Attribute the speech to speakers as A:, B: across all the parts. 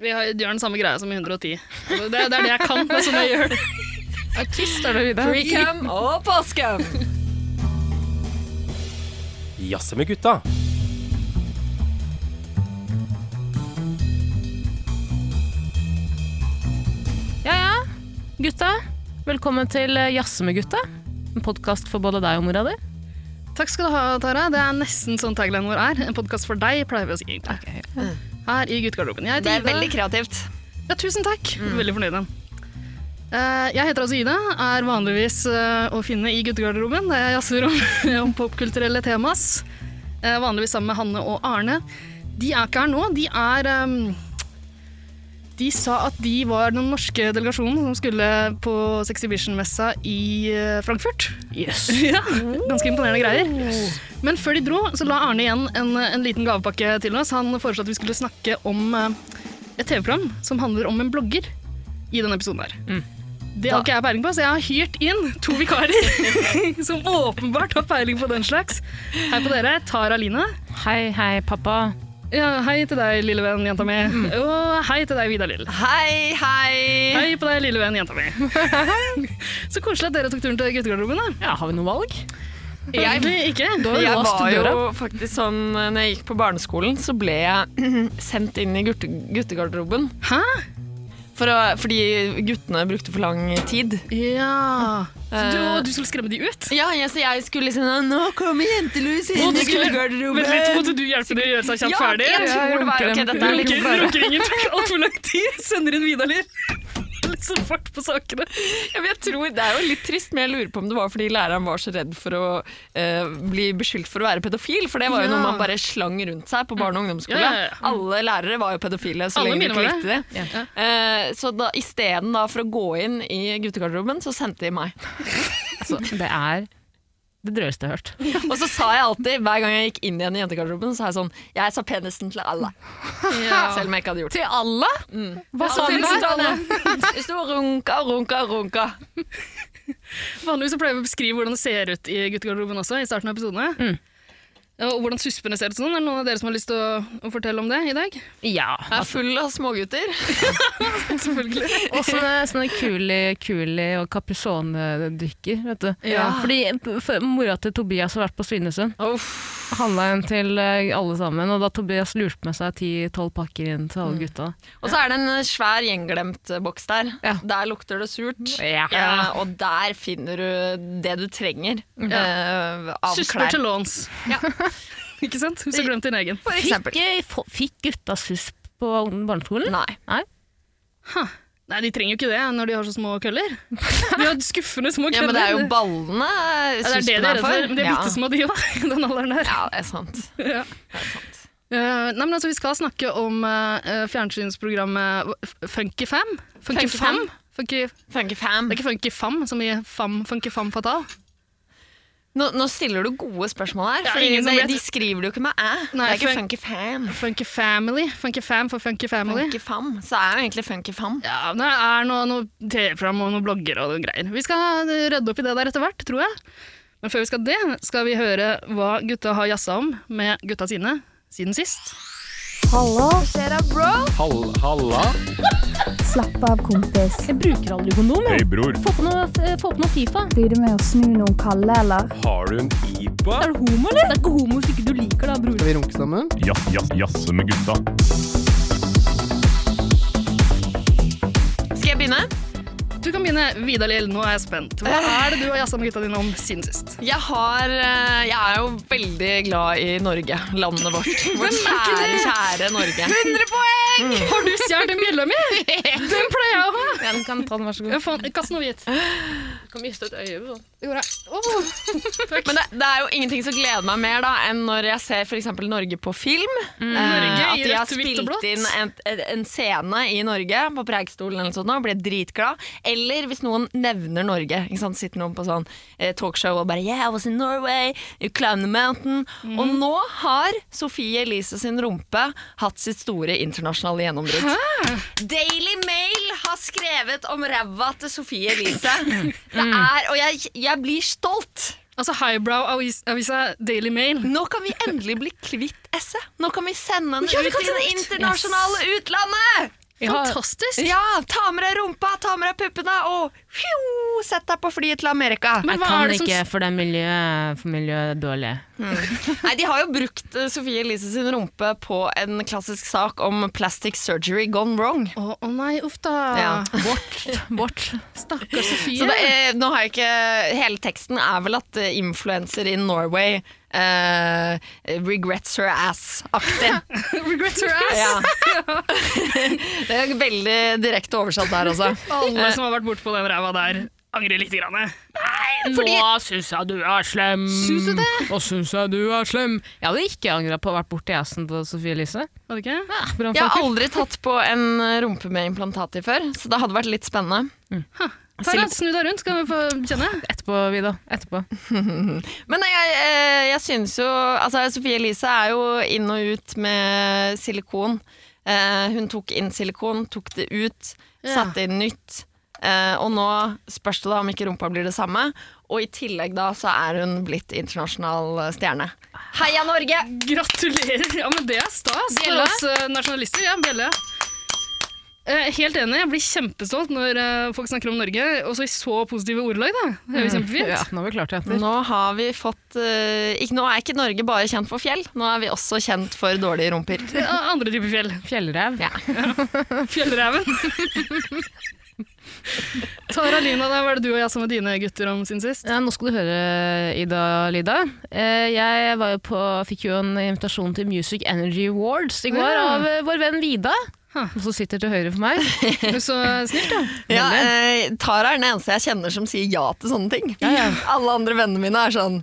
A: Vi har, gjør den samme greia som i 110. Altså, Det, det er det jeg kan. Det er sånn jeg gjør det.
B: Artist er du, Vidar.
C: Precum og poscum.
D: Jazze med gutta.
B: Ja, ja. Gutta, velkommen til eh, Jazze med gutta. En podkast for både deg og mora di.
A: Takk skal du ha, Tara. Det er nesten sånn taglinen vår er. En podkast for deg, pleier vi å si egentlig. Her i guttegarderoben. Jeg
C: Det er
A: heter
C: veldig
A: Ida.
C: kreativt.
A: Ja, tusen takk. Veldig fornøyd. med den. Eh, Jeg heter altså Ida, er vanligvis eh, å finne i guttegarderoben, der jeg jazzer om, om popkulturelle temas. Eh, Vanligvis sammen med Hanne og Arne. De er ikke her nå. De er ehm, De sa at de var den norske delegasjonen som skulle på Sexhibition-messa i eh, Frankfurt.
B: Yes.
A: Ja, ganske imponerende greier. Men før de dro, så la Arne igjen en, en liten gavepakke til oss. Han foreslo at vi skulle snakke om eh, et TV-program som handler om en blogger i denne episoden her.
C: Mm.
A: Det har ikke jeg peiling på, så jeg har hyrt inn to vikarer som åpenbart har peiling på den slags. Hei på dere, Tara Line.
B: Hei, hei, pappa.
A: Ja, hei til deg, lille venn, jenta mi.
C: Mm.
A: Og hei til deg, Vidar Lill.
C: Hei, hei.
A: Hei på deg, lille venn, jenta mi. Så koselig at dere tok turen til guttegarderoben, da.
B: Ja, Har vi noe valg?
A: Egentlig ikke.
B: var
C: Jeg
B: låst
C: var
B: døra.
C: jo faktisk sånn eh, Når jeg gikk på barneskolen, så ble jeg sendt inn i gutte, guttegarderoben.
A: Hæ?
C: For å, fordi guttene brukte for lang tid.
A: Ja. Så du,
C: Eh.
A: og du skulle skremme de ut?
C: Ja, jeg, så jeg skulle liksom sånn, Nå kommer jentelus inn
A: Og du
C: i
A: skulle-
C: guttegarderoben!
A: Vent litt, måtte du hjelpe dem å gjøre seg kjapt
C: ja,
A: ferdig?
C: jeg tror det var
B: runker
C: Ok,
B: dem.
C: dette er litt
A: Runker-
C: for-
A: Runkingen tok altfor lang tid. Sender inn Vidar-Lill. Litt så fart på sakene.
C: Ja, men jeg tror Det er jo litt trist, men jeg lurer på om det var fordi læreren var så redd for å eh, bli beskyldt for å være pedofil. For det var jo
A: Ja.
C: noe man bare slang rundt seg på barne- og ungdomsskole.
A: Ja, ja, ja.
C: Alle lærere var jo pedofile så
A: Alle
C: lenge de
A: mine
C: ikke
A: var
C: likte det. Eh, så da, isteden da for å gå inn i guttegarderoben, så sendte de meg.
B: Altså, det er det drøyeste jeg har hørt.
C: Og så sa jeg alltid, hver gang jeg gikk inn igjen i jentegarderoben, så sa jeg sånn Jeg sa penisen til alle. Selv om jeg ikke hadde gjort det.
B: Til alle? Hva sa du da?
C: Jeg sto og runka og runka og runka.
A: Vanligvis så pleier vi å beskrive hvordan det ser ut i guttegarderoben også, i starten av episodene.
C: Mm.
A: Og hvordan suspene ser ut sånn. Er det noen av dere som har lyst til å, å fortelle om det i dag?
B: Ja.
C: Jeg er full av smågutter.
A: Selvfølgelig.
B: Og sånne, sånne kuli, kuli og capriccione-drikker, vet du.
C: Ja.
B: Fordi for, mora til Tobias har vært på Svinesund. Handla en til eh, alle sammen, og da Tobias lurte med seg ti-tolv pakker inn til alle gutta.
C: Og så er det en eh, svær gjenglemt eh, boks der.
B: Ja.
C: Der lukter det surt.
B: Ja.
C: Eh, og der finner du det du trenger eh, av
A: Susper
C: klær.
A: til låns.
C: Ja.
A: Ikke sant? Hun har glemt din egen.
C: For
B: Fikk,
C: eksempel.
B: eh, få- fikk gutta susp på barneskolen?
C: Nei.
A: Huh. Nei, de trenger jo ikke det når de har så små køller. De har skuffende små
C: Ja,
A: køller.
C: men det er jo ballene eh,
A: Ja, det er det
C: suspen
A: de er
C: er
A: redd for.
C: for.
A: Men de er bitte små, de òg. i Den alderen der.
C: Ja, det er sant.
A: Ja.
C: Det er sant.
A: Eh, nei, men altså, vi skal snakke om eh, fjernsynsprogrammet F- Funky Fam. Funky,
C: Funky
A: Fam?
C: Fam?
A: Funky, det
C: Funky fam.
A: er ikke Funky Fam som i fam, Funky Fam Fatal.
C: Nå, nå stiller du gode spørsmål her,
A: Ja,
C: for
A: ingen som
C: de,
A: vet.
C: de skriver det jo ikke med æ. Det
A: Nei,
C: er ikke
A: fun-
C: funky fam.
A: Funky Family. Funky Fam for Funky Family.
C: Funky fam. Så det er jo egentlig funky fam.
A: Ja, men det er noe, noe TV-program og noen blogger og noen greier. Vi skal rydde opp i det der etter hvert, tror jeg. Men før vi skal det, skal vi høre hva gutta har jazza om med gutta sine siden sist.
D: Hall, halla.
E: Slapp av, kompis.
B: Jeg bruker aldri kondom,
F: Hei, bror.
B: Få på noe, eh, få på noe Fifa.
E: Blir du med å snu noen kalde, eller?
D: Har du en IBA?
B: Er du homo, eller? Det er ikke homo hvis ikke du liker det, bror.
G: Skal vi runke sammen?
F: Jazz, jazz, jazze med gutta.
C: Skal jeg begynne?
A: Du kan begynne, Vidar-Lill, nå er jeg spent. Hva er det du har jazza med gutta dine om siden sist?
C: Jeg, har, eh, jeg er jo veldig glad i Norge, landet vårt. Vårt kjære, kjære Norge.
A: 100 poeng! Har du stjålet den bjella mi? Den pleier jeg å ha.
B: Ja, den kan ta den, vær så
A: Ja, faen, Kast noe hvit.
B: Kan miste et øye på sånn.
A: Det gjorde jeg. Åh.
C: Men det, det er jo ingenting som gleder meg mer da, enn når jeg ser f.eks. Norge på film.
A: Mm.
C: Eh,
A: Norge i
C: at de har
A: rødt, hvitt og
C: spilt
A: blått.
C: inn en, en- en scene i Norge på Preikestolen eller noe sånt, og blir dritglad. Eller hvis noen nevner Norge. Ikke sant? Sitter noen på sånn eh, talkshow og bare Yeah, I was in Norway. You climbed the mountain.
A: Mhm.
C: Og nå har Sofie Elise sin rumpe hatt sitt store internasjonale gjennombrudd. Daily Mail har skrevet om ræva til Sofie Elise. Det er, og jeg, jeg blir stolt.
A: Altså highbrow-avisa Daily Mail.
C: Nå kan vi endelig bli kvitt Esse. E. Nå kan vi sende henne
A: Ja, vi
C: ut
A: kan
C: i det
A: sende ut.
C: internasjonale utlandet!
A: Fantastisk!
C: Ja, ta med deg rumpa, ta med deg puppene og fjo, sett deg på flyet til Amerika.
A: Men
B: Jeg
A: hva er
B: kan
A: det som
B: ikke, for det er miljøet for miljøet er dårlig.
C: Nei, De har jo brukt eh, Sofie Elise sin rumpe på en klassisk sak om plastic surgery gone wrong.
A: Å å nei, uff da.
C: Ja.
B: Bort. bort.
A: Stakkars Sofie.
C: Så det er, nå har jeg ikke Hele teksten er vel at eh, influencer in Norway eh, regrets her ass-aktig.
A: Regrets her ass.
C: Ja. Det er veldig direkte oversatt der, altså.
A: Alle som har vært bortpå den ræva der, angrer lite grann.
C: Eh,
B: Nå syns jeg du er slem!
A: Syns du det?
B: Og syns jeg du er slem! Jeg hadde ikke angra på å ha vært borti assen til Sofie Elise.
A: Var det ikke?
B: Ah,
C: Jeg har aldri tatt på en rumpe med implantat i før, så det hadde vært litt spennende.
A: Tara, snu deg rundt, skal vi få kjenne.
B: Etterpå, Vida. Etterpå.
C: Men jeg, eh, jeg synes jo Altså, Sofie Elise er jo inn og ut med silikon. Eh, hun tok inn silikon, tok det ut,
A: Ja.
C: satte inn nytt. Eh, og nå spørs det da om ikke rumpa blir det samme. Og i tillegg da så er hun blitt internasjonal stjerne. Heia Norge!
A: Gratulerer! Ja, men det er stas for
C: Bjelle?
A: oss eh, nasjonalister. Ja, bjelle. Eh, helt enig. Jeg blir kjempestolt når eh, folk snakker om Norge, og så i så positive ordelag. da. Det er jo kjempefint.
B: Mm. Ja, nå har vi klart det. Jenter.
C: Nå har vi fått eh, ikke, Nå er ikke Norge bare kjent for fjell, nå er vi også kjent for dårlige rumper.
A: Ja, Andre typer fjell.
B: Fjellrev.
C: Ja.
A: Fjellreven. Tara Lina, da var det du og jeg som var dine gutter om sin sist.
B: Ja, nå skal du høre, Ida Lida. Eh, Jeg var jo på, fikk jo en invitasjon til Music Energy Awards i går
A: Ja.
B: av eh, vår venn Vida,
A: Huh.
B: som sitter til høyre for meg.
A: Så snilt, da.
C: Ja, eh, Tara er den eneste jeg kjenner som sier ja til sånne ting. Alle andre vennene mine er sånn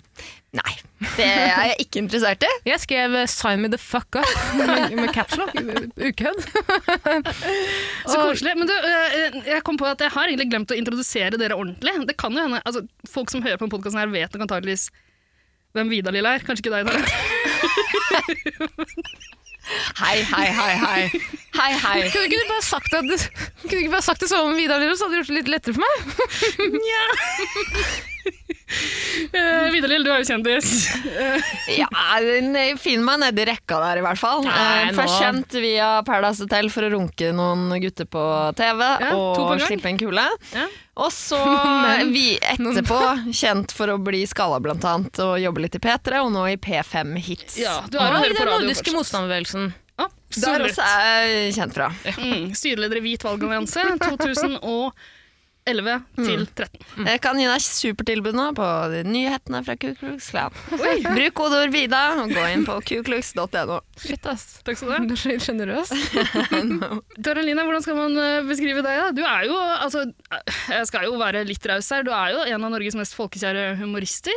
C: Nei, det er jeg ikke interessert i.
B: Jeg skrev eh, 'sign me the fuck up' med, med capslock. Ukødd.
A: Så koselig. Men du, eh, jeg kom på at jeg har egentlig glemt å introdusere dere ordentlig. Det kan jo hende, altså Folk som hører på denne podkasten, vet nok antakeligvis hvem Vidar Lille er. Kanskje ikke deg, Tara.
C: Hei, hei, hei, hei. Hei, hei.
B: Kunne ikke du bare sagt, at, kunne du ikke bare sagt det som om Vidar Lillo, så hadde det gjort det litt lettere for meg?
A: Eh, Vidar Lille, du er jo kjendis.
C: Ja, den- Finn meg nedi rekka der, i hvert fall.
B: Nei,
C: Eh,
B: nå-
C: Først kjent via Paradise Hotel for å runke noen gutter på TV
A: Ja, to på
C: og
A: gang.
C: slippe en kule.
A: Ja.
C: Og så
B: menn.
C: vi etterpå kjent for å bli skalla, blant annet, og jobbe litt i P3, og nå i P5 Hits.
A: du er jo
B: Og
A: hører
B: i
A: på
B: den
A: radio
B: nordiske
A: først.
B: motstanderbevelsen.
A: Ja,
C: Der
A: absolutt.
C: også er jeg kjent fra.
A: Mm, styreleder i Hvit valgallianse 2011 til 13.
C: Jeg Eh, kan gi deg supertilbud nå på nyhetene fra Ku Klux Klan. Bruk kodeord Vida og gå inn på kuklux.no.
B: Shit, ass.
A: Takk skal du ha.
B: Du er så sjenerøs.
A: Taralina, hvordan skal man eh, beskrive deg? da? Du er jo, altså, eh, jeg skal jo være litt raus her, du er jo en av Norges mest folkekjære humorister.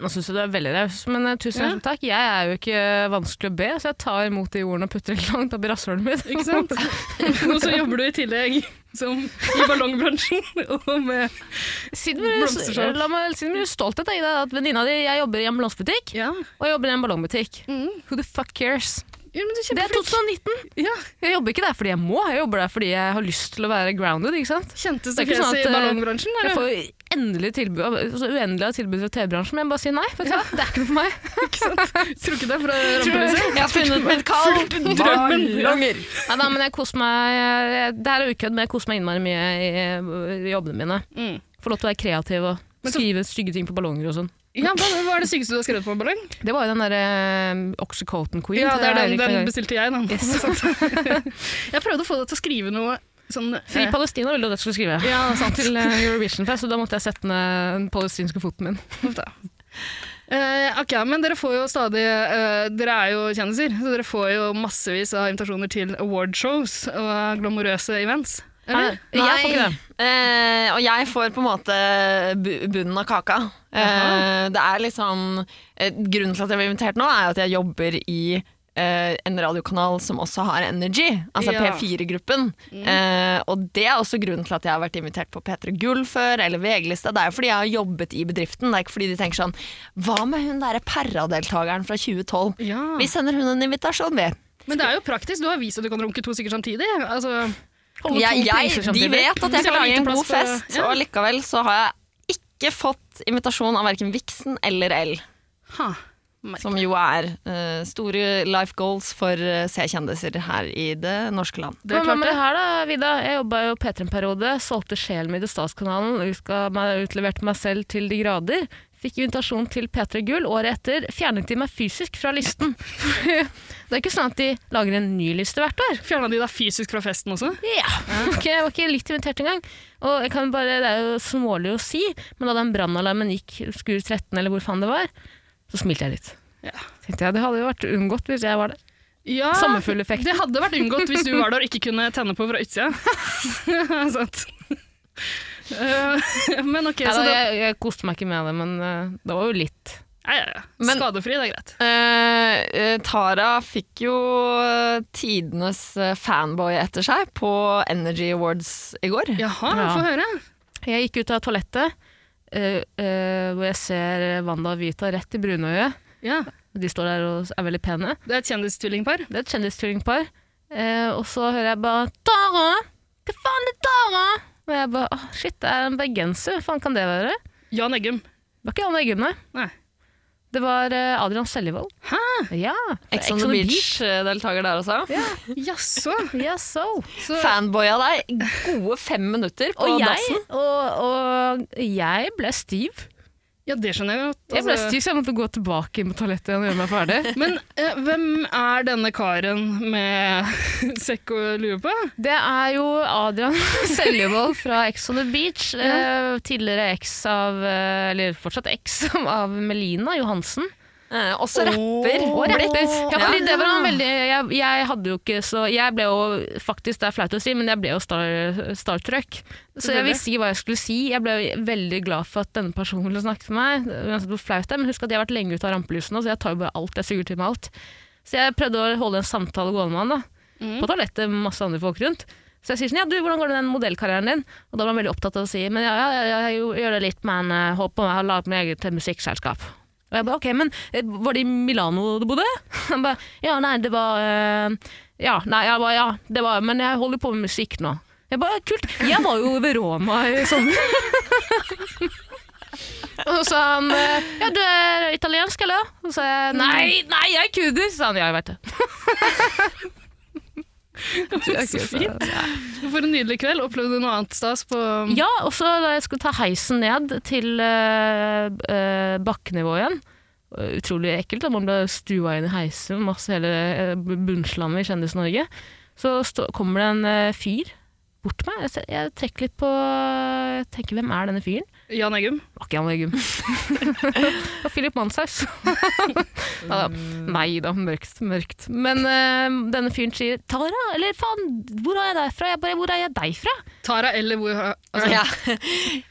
B: Nå syns jeg du er veldig raus, men eh, tusen
A: Ja.
B: hjertelig takk. Jeg er jo ikke vanskelig å be, så jeg tar imot de ordene og putter det langt opp i rasshølet mitt.
A: Ikke sant? Og så jobber du i tillegg som i ballongbransjen. Og med,
B: Siden vi,
A: Blomstershow.
B: la meg, siden vi er stolt av deg, Ida, at venninna di Jeg jobber i ambulansebutikk,
A: ja.
B: og jeg jobber i en ballongbutikk.
A: Mm.
B: Who the fuck cares?
A: ja, men du er
B: Det er
A: kjempeflink.
B: 2019!
A: Ja,
B: Jeg jobber ikke der fordi jeg må, jeg jobber der fordi jeg har lyst til å være grounded, ikke sant?
A: kjenteste
B: Det er ikke sånn
A: fjeset i
B: at, eh,
A: ballongbransjen.
B: Jeg
A: Er det?
B: får jo endelig tilbud, av- så uendelig av tilbud fra TV-bransjen, men jeg bare sier nei. Vet du hva? Det er ikke noe for meg.
A: Trukket deg fra rampelyset.
C: Jeg har funnet mitt kall!
A: Drømmen.
C: Ballonger.
B: Nei da, men jeg koser meg jeg, Det her er ukødd, men jeg koser meg innmari mye i, i jobbene mine.
A: Mm.
B: Får lov til å være kreativ og
A: Men så-
B: skrive stygge ting på ballonger og sånn.
A: Ja, hva, hva er det sykeste du har skrevet på en ballong?
B: Det var jo den derre eh, Oxycoton Queen.
A: Ja,
B: til
A: det er den,
B: Eirik
A: den
B: Berger.
A: bestilte jeg. Den. jeg prøvde å få deg til å skrive noe sånn
B: Fri Palestina ville du at jeg skulle skrive.
A: Ja, sant.
B: Til eh, Eurovision Fest, og da måtte jeg sette ned den palestinske foten min.
A: Uff da. Eh, ok, men dere får jo stadig eh, Dere er jo kjendiser, så dere får jo massevis av invitasjoner til awardshows og glamorøse events. Eller?
B: Nei, jeg får ikke det.
C: Eh, og jeg får på en måte bu- bunnen av kaka. Eh, det er liksom eh, Grunnen til at jeg ble invitert nå, er jo at jeg jobber i eh, en radiokanal som også har Energy, altså
A: Ja.
C: P4-gruppen.
B: Mm.
C: Eh, og det er også grunnen til at jeg har vært invitert på P3 Gull før, eller VG-lista. Det er jo fordi jeg har jobbet i bedriften. Det er ikke fordi de tenker sånn Hva med hun derre Perra-deltakeren fra 2012?
A: Ja.
C: Vi sender hun en invitasjon, vi.
A: Men det er jo praktisk. Du har vist at du kan runke to stykker samtidig. Altså,
B: Holde
C: jeg,
B: to priser
C: jeg, de
B: samtidig.
C: vet at
A: Det
C: jeg
A: skal
C: kan
A: være
C: lage
A: lite
C: en god
A: plass for-
C: fest,
A: ja.
C: og likevel så har jeg ikke fått invitasjon av verken Vixen eller L.
A: ha. Merk.
C: Som jo er eh, store life goals for eh, C-kjendiser her i det norske land.
A: Det
B: Men hva med
A: klarte
B: det her da, Vida? Jeg jobba jo P3 en periode, solgte sjelen min til Statskanalen, utga meg, utleverte meg selv til de grader. Fikk invitasjon til P3 Gull. Året etter fjernet de meg fysisk fra listen. det er ikke sånn at de lager en ny liste hvert år.
A: Fjerna de deg fysisk fra festen også?
B: Ja, Ok, Jeg var ikke litt invitert engang. Og jeg kan bare, Det er jo smålig å si, men da den brannalarmen gikk Skur 13, eller hvor faen det var, så smilte jeg litt.
A: Ja.
B: Tenkte jeg, Det hadde jo vært unngått hvis jeg var der.
A: Ja,
B: Ah. Sommerfugleffekten.
A: Det hadde vært unngått hvis du var der og ikke kunne tenne på fra utsida. Sant. Eh, men ok,
B: Nei,
A: så
B: da,
A: det,
B: jeg, jeg koste meg ikke med det, men eh, det var jo litt.
A: ja, ja, ja.
C: Men-
A: Skadefri, det er greit.
C: Eh, eh, Tara fikk jo eh, tidenes eh, fanboy etter seg på Energy Awards i går.
A: Jaha,
B: Ja.
A: få høre.
B: Jeg gikk ut av toalettet, eh, eh, hvor jeg ser Wanda og Vita rett i brunøyet.
A: Ja,
B: De står der og er veldig pene.
A: det er et kjendistyllingpar.
B: Det er et kjendistvillingpar. Eh, og så hører jeg bare 'Tara! Hva faen er Tara?' Og jeg bare «Åh, 'Shit, det er en bergenser. Hva faen kan det være?'
A: Jan Eggum.
B: Det var ikke Anne Eggum, nei.
A: Nei.
B: Det var eh, Adrian Seljevold. Hæ? Ja.
C: Ex on the Beach-deltaker der også.
A: Jaså.
B: Yeah, so.
A: Så,
C: Fanboya deg gode fem minutter på
B: og, jeg,
C: dassen.
B: og, og jeg ble stiv.
A: ja, det skjønner jeg godt.
B: Jeg ble
A: altså.
B: stiv, så jeg måtte gå tilbake inn på toalettet igjen og gjøre meg ferdig.
A: Men eh, hvem er denne karen med sekk og lue på?
B: Det er jo Adrian Seljevold fra Ex on the Beach. eh, tidligere eks av eh, Eller fortsatt eks av Melina Johansen.
C: Eh, også rapper.
B: Og rapper. Ja,
C: Ja.
B: fordi det var han veldig jeg, jeg hadde jo ikke så Jeg ble jo faktisk, det er flaut å si, men jeg ble jo star, starstruck. Så jeg visste ikke hva jeg skulle si. Jeg ble veldig glad for at denne personen ville snakke med meg. Uansett hvor flaut det er, men husk at jeg har vært lenge ute av rampelyset nå, så jeg tar jo bare alt. Jeg suger til meg alt. Så jeg prøvde å holde en samtale gående med han, da. På toalettet med masse andre folk rundt. Så jeg sier sånn, ja du, hvordan går det med den modellkarrieren din? Og da var han veldig opptatt av å si, men ja, ja, ja, jeg jo- gjør det litt, men eh, håper på meg, jeg har laget mitt eget musikkselskap. Og jeg bare, ok, men eh, var det i Milano du bodde? Han bare, ja, nei, det var, eh, ja, nei, jeg bare, ja, det var, men jeg holder på med musikk nå. Jeg bare, kult, jeg var jo ved Roma i sommer. Og så sa han, eh, ja, du er italiensk, eller? Og så sa jeg, nei, nei, jeg er kuder, Så sa han, ja, jeg vet det.
A: Så fint. For en nydelig kveld. Opplevde du noe annet stas på
B: Ja, og så da jeg skulle ta heisen ned til eh, eh, bakkenivået igjen eh, Utrolig ekkelt da man ble stua inn i heisen, masse hele eh, bunnslammet i Kjendis-Norge. Så stå, kommer det en eh, fyr bort til meg. Jeg, ser- jeg trekker litt på Jeg tenker, hvem er denne fyren?
A: Jan Eggum?
B: Det var ikke Jan Eggum. Og Philip Manshaus. ja, da. Nei da, mørkt, mørkt. Men eh, denne fyren sier 'Tara, eller faen, hvor er jeg deg fra?' Jeg bare 'Hvor er jeg deg fra?'
A: Tara eller hvor altså,
C: Ja.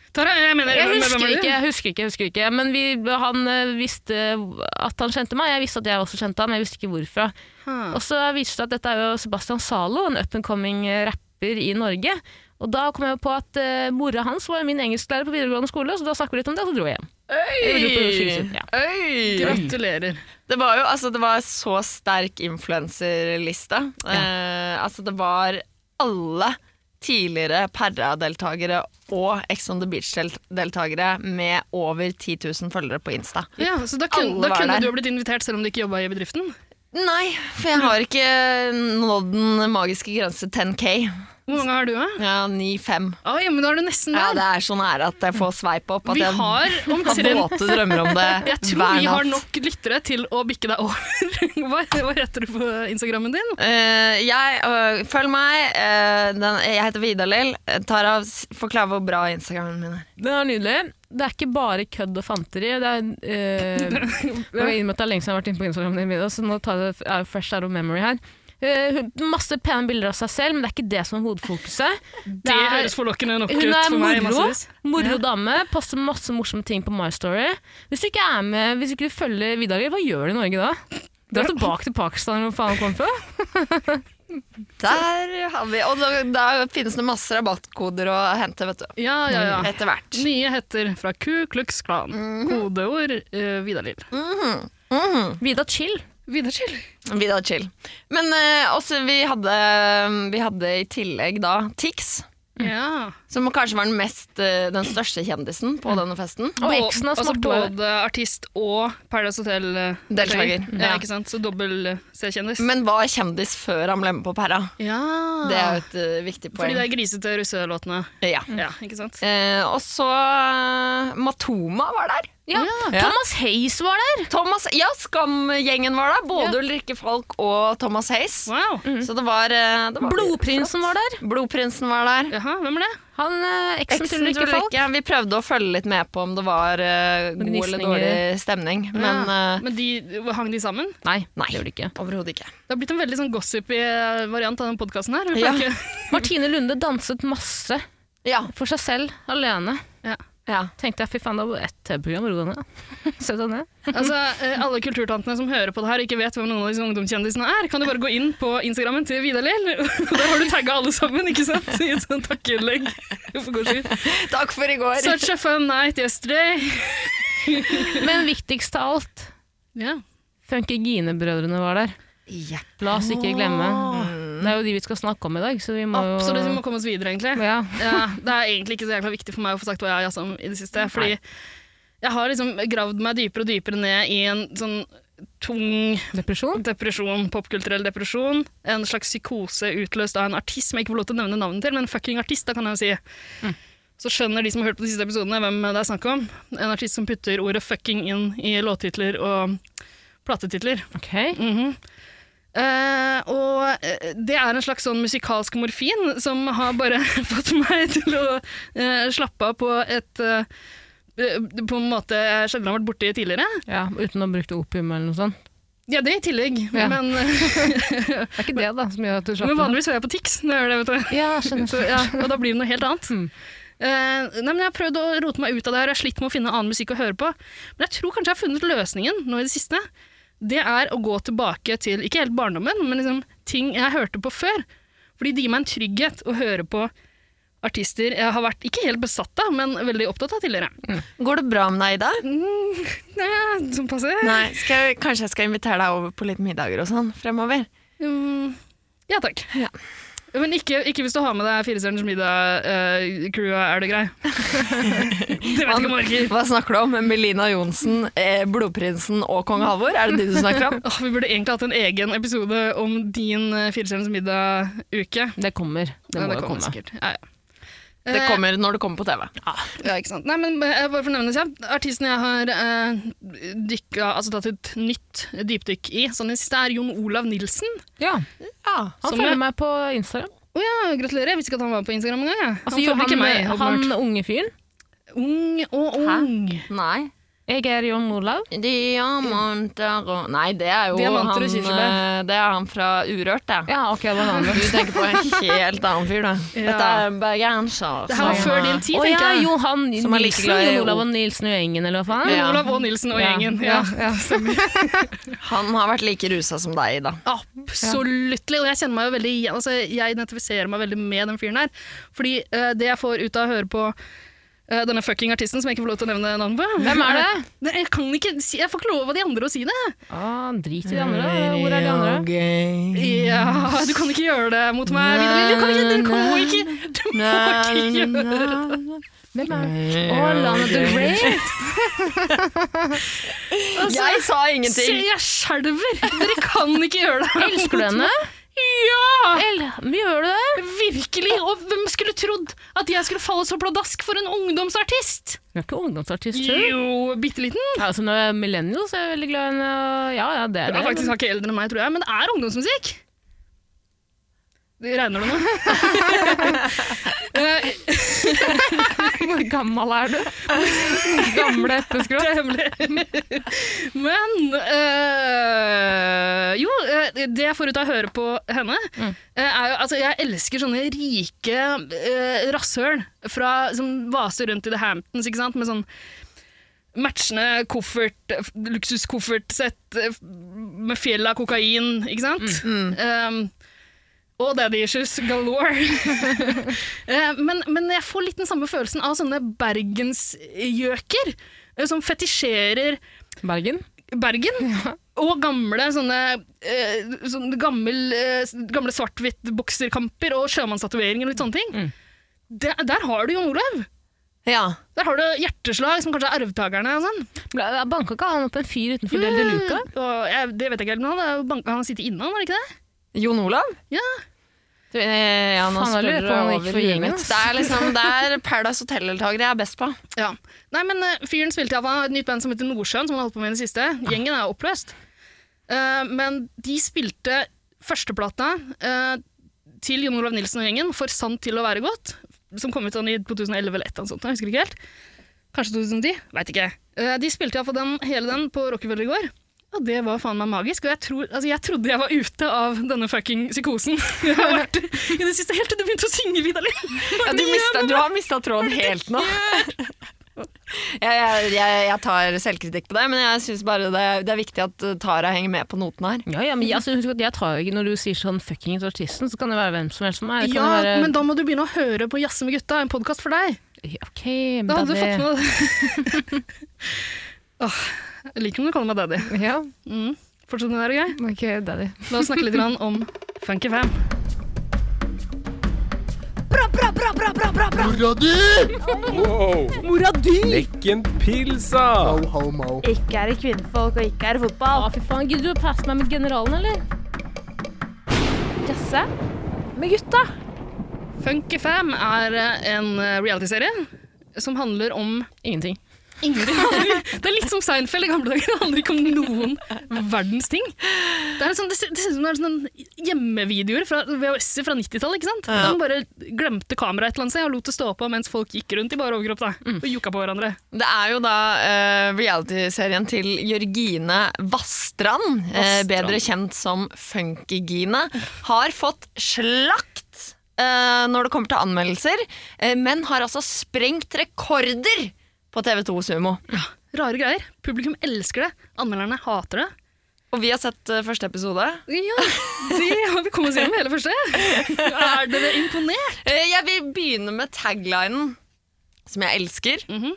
A: Tara, jeg mener
B: Jeg
A: hvem- hvem
B: husker
A: er du?
B: ikke, jeg husker ikke, jeg husker ikke. Men vi, han eh, visste at han kjente meg. Jeg visste at jeg også kjente ham, men jeg visste ikke hvorfra.
A: Ha.
B: Og så viste det seg at dette er jo Sebastian Zalo, en up and coming eh, rapper i Norge. Og da kom jeg jo på at eh, mora hans var min engelsklærer på videregående skole, så da snakket vi litt om det, og så dro jeg hjem. Jeg dro på sykehuset, ja.
C: Øy.
A: Gratulerer.
C: Det var jo altså, det var så sterk influenserliste. Eh, altså, det var alle tidligere Perra-deltakere og Ex on the Beach-deltakere med over 10 000 følgere på Insta.
A: Ja, så da kunne,
C: Alle
A: da
C: var
A: kunne
C: der.
A: du ha blitt invitert selv om du ikke jobba i bedriften?
C: Nei, for jeg har ikke nådd den magiske grense 10K.
A: Hvor mange har du, da?
C: Ja, 9-5.
A: Oi, men da er du nesten
C: Ja,
A: der.
C: det er så nære at jeg får sveip opp. At
A: vi
C: jeg
A: har
C: har
A: omtrent
C: våte drømmer om det
A: Jeg tror
C: hver
A: vi har
C: natt.
A: nok lyttere til å bikke deg over. Hva, hva heter du på Instagrammen din?
C: Eh, jeg, øh, følg meg. eh, den, jeg heter Vidalil. Tara, s- forklar hvor bra Instagramen min er.
B: Det er nydelig. Det er ikke bare kødd og fanteri. Det er, eh, jeg må innrømme at det er lenge siden jeg har vært inne på Instagram, din, Vidar, så nå tar jeg det er jo fresh out of memory her. Eh, hun- masse pene bilder av seg selv, men det er ikke det som er hovedfokuset.
A: Det høres forlokkende nok ut
B: Hun er
A: for meg.
B: moro,
A: massevis.
B: moro
A: Ja.
B: dame, poster masse morsomme ting på My Story. Hvis du ikke er med, hvis du ikke følger Vidar, hva gjør du i Norge da? Dra tilbake til Pakistan, hvor faen han kom fra?
C: Der har vi Og da, da finnes det masse rabattkoder å hente, vet du.
A: Ja, ja, ja.
C: Etter hvert.
A: Nye heter fra Ku Klux Klan.
C: Mhm.
A: Kodeord uh, Vidar Lill.
B: Vidar chill.
A: Vidar Chill.
C: Vidar chill. Men eh, også, vi hadde, vi hadde i tillegg da Tix.
A: Ja.
C: Som kanskje var den, mest, eh, den største kjendisen på denne festen.
B: Og
A: Bå-
B: eksen hans
A: altså
B: Marte var-
A: både artist og Paradise Hotel-deltaker.
C: Deltaker,
A: Ja,
C: ja.
A: ikke sant? Så dobbel eh, C-kjendis.
C: Men var kjendis før han ble med på Perra.
A: Ja.
C: Det er jo et eh, viktig
A: Fordi
C: poeng. Mm.
A: det er grisete russelåtene.
C: Ja.
A: Ja, ikke sant?
C: Eh, og så eh, Matoma var der.
B: Ja.
C: Ja.
B: Thomas Hayes var der!
C: Thomas, ja, Skam-gjengen var der. Både Ulrikke Falk og Thomas Hayes.
A: Wow.
C: Så det var, eh, det var
B: Blodprinsen var der.
C: flott. Blodprinsen var der.
A: Jaha, hvem er det?
B: Han eh, eksen
C: Eksen
B: til Ulrikke Falk.
C: Vi prøvde å følge litt med på om det var eh, god eller
B: Gnisninger.
C: dårlig stemning, men
A: ja.
C: eh,
A: men de, hang de sammen?
B: Nei,
C: Nei.
B: det gjorde det ikke.
C: overhodet ikke.
A: Det har blitt en veldig sånn gossipy eh, variant av den podkasten her. Vi
C: Ja.
A: får ikke-
B: Martine Lunde danset masse
C: Ja,
B: for seg selv, alene.
C: ja.
B: Tenkte jeg, fy faen, det var bare ett TV-program, ro deg ned. Sett deg ned.
A: Altså, eh, alle kulturtantene som hører på det her og ikke vet hvem noen av disse ungdomskjendisene er, kan du bare gå inn på Instagrammen til Vidar Lill, og der har du tagga alle sammen, ikke sant? I et sånt takkeinnlegg. For god skyld.
C: Takk for i går.
A: Such a fun night yesterday.
B: Men viktigst av alt,
A: Ja.
B: Funkygine-brødrene var der.
C: Ja.
B: La oss ikke glemme. Det er jo de vi skal snakke om i dag, så vi må jo
A: Absolutt, vi må komme oss videre, egentlig.
B: ja.
A: Ja, det er egentlig ikke så jækla viktig for meg å få sagt hva jeg har jazza om i det siste, fordi jeg har liksom gravd meg dypere og dypere ned i en sånn tung
B: Depresjon?
A: depresjon, popkulturell depresjon. En slags psykose utløst av en artist som jeg ikke får lov til å nevne navnet til, men fucking artist, da kan jeg jo si. Så skjønner de som har hørt på de siste episodene, hvem det er snakk om. En artist som putter ordet fucking inn i låttitler og platetitler.
B: Ok.
A: Mhm. Eh, og eh, det er en slags sånn musikalsk morfin som har bare fått meg til å eh, slappe av på et eh, eh, På en måte jeg sjelden har vært borti tidligere.
B: Ja, uten å ha brukt opium eller noe sånt.
A: Ja, det i tillegg,
B: Ja.
A: men
B: Det er ikke det, da, som gjør at du
A: Men
B: slapper av.
A: vanligvis hører jeg på Tix når jeg gjør det, vet du.
B: Ja, skjønner.
A: Så, ja, og da blir det noe helt annet. Eh, nei, men jeg har prøvd å rote meg ut av det her, og jeg har slitt med å finne annen musikk å høre på. Men jeg tror kanskje jeg har funnet løsningen nå i det siste. Det er å gå tilbake til, ikke helt barndommen, men liksom ting jeg hørte på før. Fordi det gir meg en trygghet å høre på artister jeg har vært ikke helt besatt av, men veldig opptatt av tidligere.
C: Går det bra med deg, Ida?
A: Nei, sånn passe.
C: Nei, skal, jeg- kanskje jeg skal invitere deg over på litt middager og sånn fremover?
A: Mm, ja takk.
C: Ja.
A: Men ikke, ikke hvis du har med deg Firestjerners middag-crewet, er det grei? det vet jeg ikke om jeg orker.
C: Hva snakker du om? Melina Johnsen, eh, Blodprinsen og kong Halvor? Er det de du snakker om?
A: Åh, vi burde egentlig hatt en egen episode om din eh, Firestjerners middag-uke.
B: Det kommer. Det
A: Ja,
B: må jo komme.
A: sikkert. Ja, ja.
C: Det
A: Eh,
C: kommer når det kommer på TV.
A: Ja, ikke sant. Nei, men eh, bare for å nevne det kjapt. Artisten jeg har eh, dykka, altså tatt et nytt dypdykk i, sånn i det siste, er Jon Olav Nilsen.
B: Ja,
C: Ja.
B: Han
A: Som
B: følger
A: jeg-
B: meg på Instagram.
A: Å ja, gratulerer. Jeg visste ikke at han var på Instagram engang. jeg.
B: Altså,
A: han
B: jo,
A: følger ikke meg,
B: han,
A: åpenbart.
B: han unge fyren.
A: Ung og
C: Hæ?
A: ung.
C: Nei.
B: Jeg er Jon Olav.
C: Diamanter og Nei, det er jo
A: Diamanter og
C: han,
A: kirsebær.
C: eh, det er han fra Urørt, det.
B: Ja, ok, det var en annen.
C: Du tenker på en helt annen fyr, da.
A: Ja.
C: Dette er bergenser.
A: Det her var
C: som-
A: før din tid,
B: Å
A: tenker
B: ja,
A: jeg.
B: Johan
C: Som er like
B: Nilsen,
C: glad i
B: Jon Olav og Nilsen og gjengen, eller hva faen?
A: Jon
C: Ja.
A: Olav og Nilsen og
B: Ja,
A: gjengen. Ja.
C: Han har vært like rusa som deg, Ida.
A: Absolutt. Og jeg kjenner meg jo veldig igjen. altså, Jeg identifiserer meg veldig med den fyren her. Fordi eh, det jeg får ut av å høre på eh, denne fucking artisten som jeg ikke får lov til å nevne navnet på
B: Hvem er det?
A: Nei, Jeg, kan ikke si, jeg får ikke lov av de andre å si det.
B: Ah, drit i de andre. da. Hvor er de andre? Mm.
A: Ja, du kan ikke gjøre det mot meg. Vidar Lill. Du kan ikke, du må ikke, du må ikke gjøre det.
B: Hvem er det? Å, Lana Del Rey.
C: Jeg sa
A: Se,
C: ingenting.
A: jeg skjelver! Dere kan ikke gjøre det. her
B: Elsker du
A: mot meg.
B: henne?
A: Ja!
B: El Gjør du det?
A: Virkelig! Og hvem skulle trodd at jeg skulle falle så pladask for en ungdomsartist?
B: Hun er ikke ungdomsartist, tror du?
A: Jo, bitte liten.
B: Ja, altså, når jeg er millennial, så er jeg veldig glad i henne. og- Ja, ja, det er
A: Du
B: det.
A: er faktisk hakket eldre enn meg, tror jeg, men det er ungdomsmusikk. Det regner det nå? Eh,
B: Hvor gammel er du? Gamle
A: det
B: epleskrått.
A: er hemmelig. Men eh, Jo, eh, det jeg får ut av å høre på henne, eh, er jo Altså, jeg elsker sånne rike uh, rasshøl fra- som vaser rundt i The Hamptons, ikke sant, med sånn matchende koffert, f- luksuskoffertsett eh, f- med fjell av kokain, ikke sant? Um, og daddy issues galore. Eh, men, men jeg får litt den samme følelsen av sånne bergensgjøker eh, som fetisjerer
B: Bergen.
A: Bergen. Og gamle sånne, eh, sånn gammel, eh, gamle svart-hvitt bokserkamper og sjømannsstatueringer og litt sånne ting. det, der har du Jon Olav!
C: Ja.
A: Der har du hjerteslag, som kanskje er arvtakerne og sånn.
B: Ble- Banka ikke han opp en fyr utenfor Del de Luca?
A: Og jeg, det vet jeg ikke helt, men han, er jo bank- han sitter inne, han, var det ikke det?
C: Jon Olav?
A: Ja.
C: Du, eh, ja, nå
B: Faen, jeg lurer
C: spør du
B: på om han gikk
C: over
B: for
C: huet
B: gjengen,
C: mitt.
B: ass.
C: Det er liksom det er Paradise Hotel-deltakere jeg er best på.
A: Ja. Nei, men eh, fyren spilte iallfall et nytt band som heter Nordsjøen, som han holdt på med i det siste. Gjengen er jo oppløst. Eh, men de spilte førsteplata eh, til Jon Olav Nilsen og gjengen, For sant til å være godt, som kom ut sånn i 2011 eller et eller annet sånt, jeg husker ikke helt. Kanskje 2010? Veit ikke. Eh, de spilte iallfall den, hele den på Rockefeller i går. Og det var faen meg magisk. Og jeg, tror, altså, jeg trodde jeg var ute av denne fucking psykosen jeg har vært i det siste, helt til du begynte å synge, Vidalin.
C: Ja, du, mista, du har mista tråden helt nå. Jeg, jeg, jeg, jeg tar selvkritikk på det, men jeg syns bare det, det er viktig at eh, Tara henger med på notene her.
B: Ja, ja, men jeg, altså, husk at jeg tar jo ikke Når du sier sånn fucking til artisten, så kan det være hvem som helst som er. Det
A: Ja,
B: kan jo være,
A: men da må du begynne å høre på Jazze med gutta, en podkast for deg.
B: Ja, ok,
A: Da hadde du
B: daddy.
A: fått med deg Åh, Jeg liker når du kaller meg daddy.
B: Ja,
A: Mm. Fortsett med det, er det grei?
B: ok, daddy.
A: La oss snakke litt grann om Funky Fam.
D: Wow! Mora di! Lekken pilsa!
F: Ikke er det kvinnfolk, og ikke er det
B: Å,
F: fotball.
B: fy faen, gidder du å passe meg med generalen, eller?
F: Jazze med gutta.
A: Funky Fam er eh, en eh, realityserie som handler om
B: Ingenting.
A: ingenting. Det er litt som Seinfeld i gamle dager. Det handler ikke om noen verdens ting. Det, er sånn, det, ser, det ser ut som det er sånne hjemmevideoer fra VHS-er fra 90-tallet. ikke sant?
C: Ja.
A: De bare glemte kameraet et eller annet sted og lot det stå på mens folk gikk rundt i bare overkropp da, og juka på hverandre.
C: Det er jo da eh, reality-serien til Jørgine Vassstrand, eh, bedre kjent som Funkygine, har fått slakt eh, når det kommer til anmeldelser, eh, men har altså sprengt rekorder på TV2 Sumo.
A: Rare greier. Publikum elsker det. Anmelderne hater det.
C: Og vi har sett eh, første episode.
A: Ja, det har vi kommet oss gjennom hele første. Er dere imponert?
C: Eh, Jeg vil begynne med taglinen, som jeg elsker.
A: Mhm.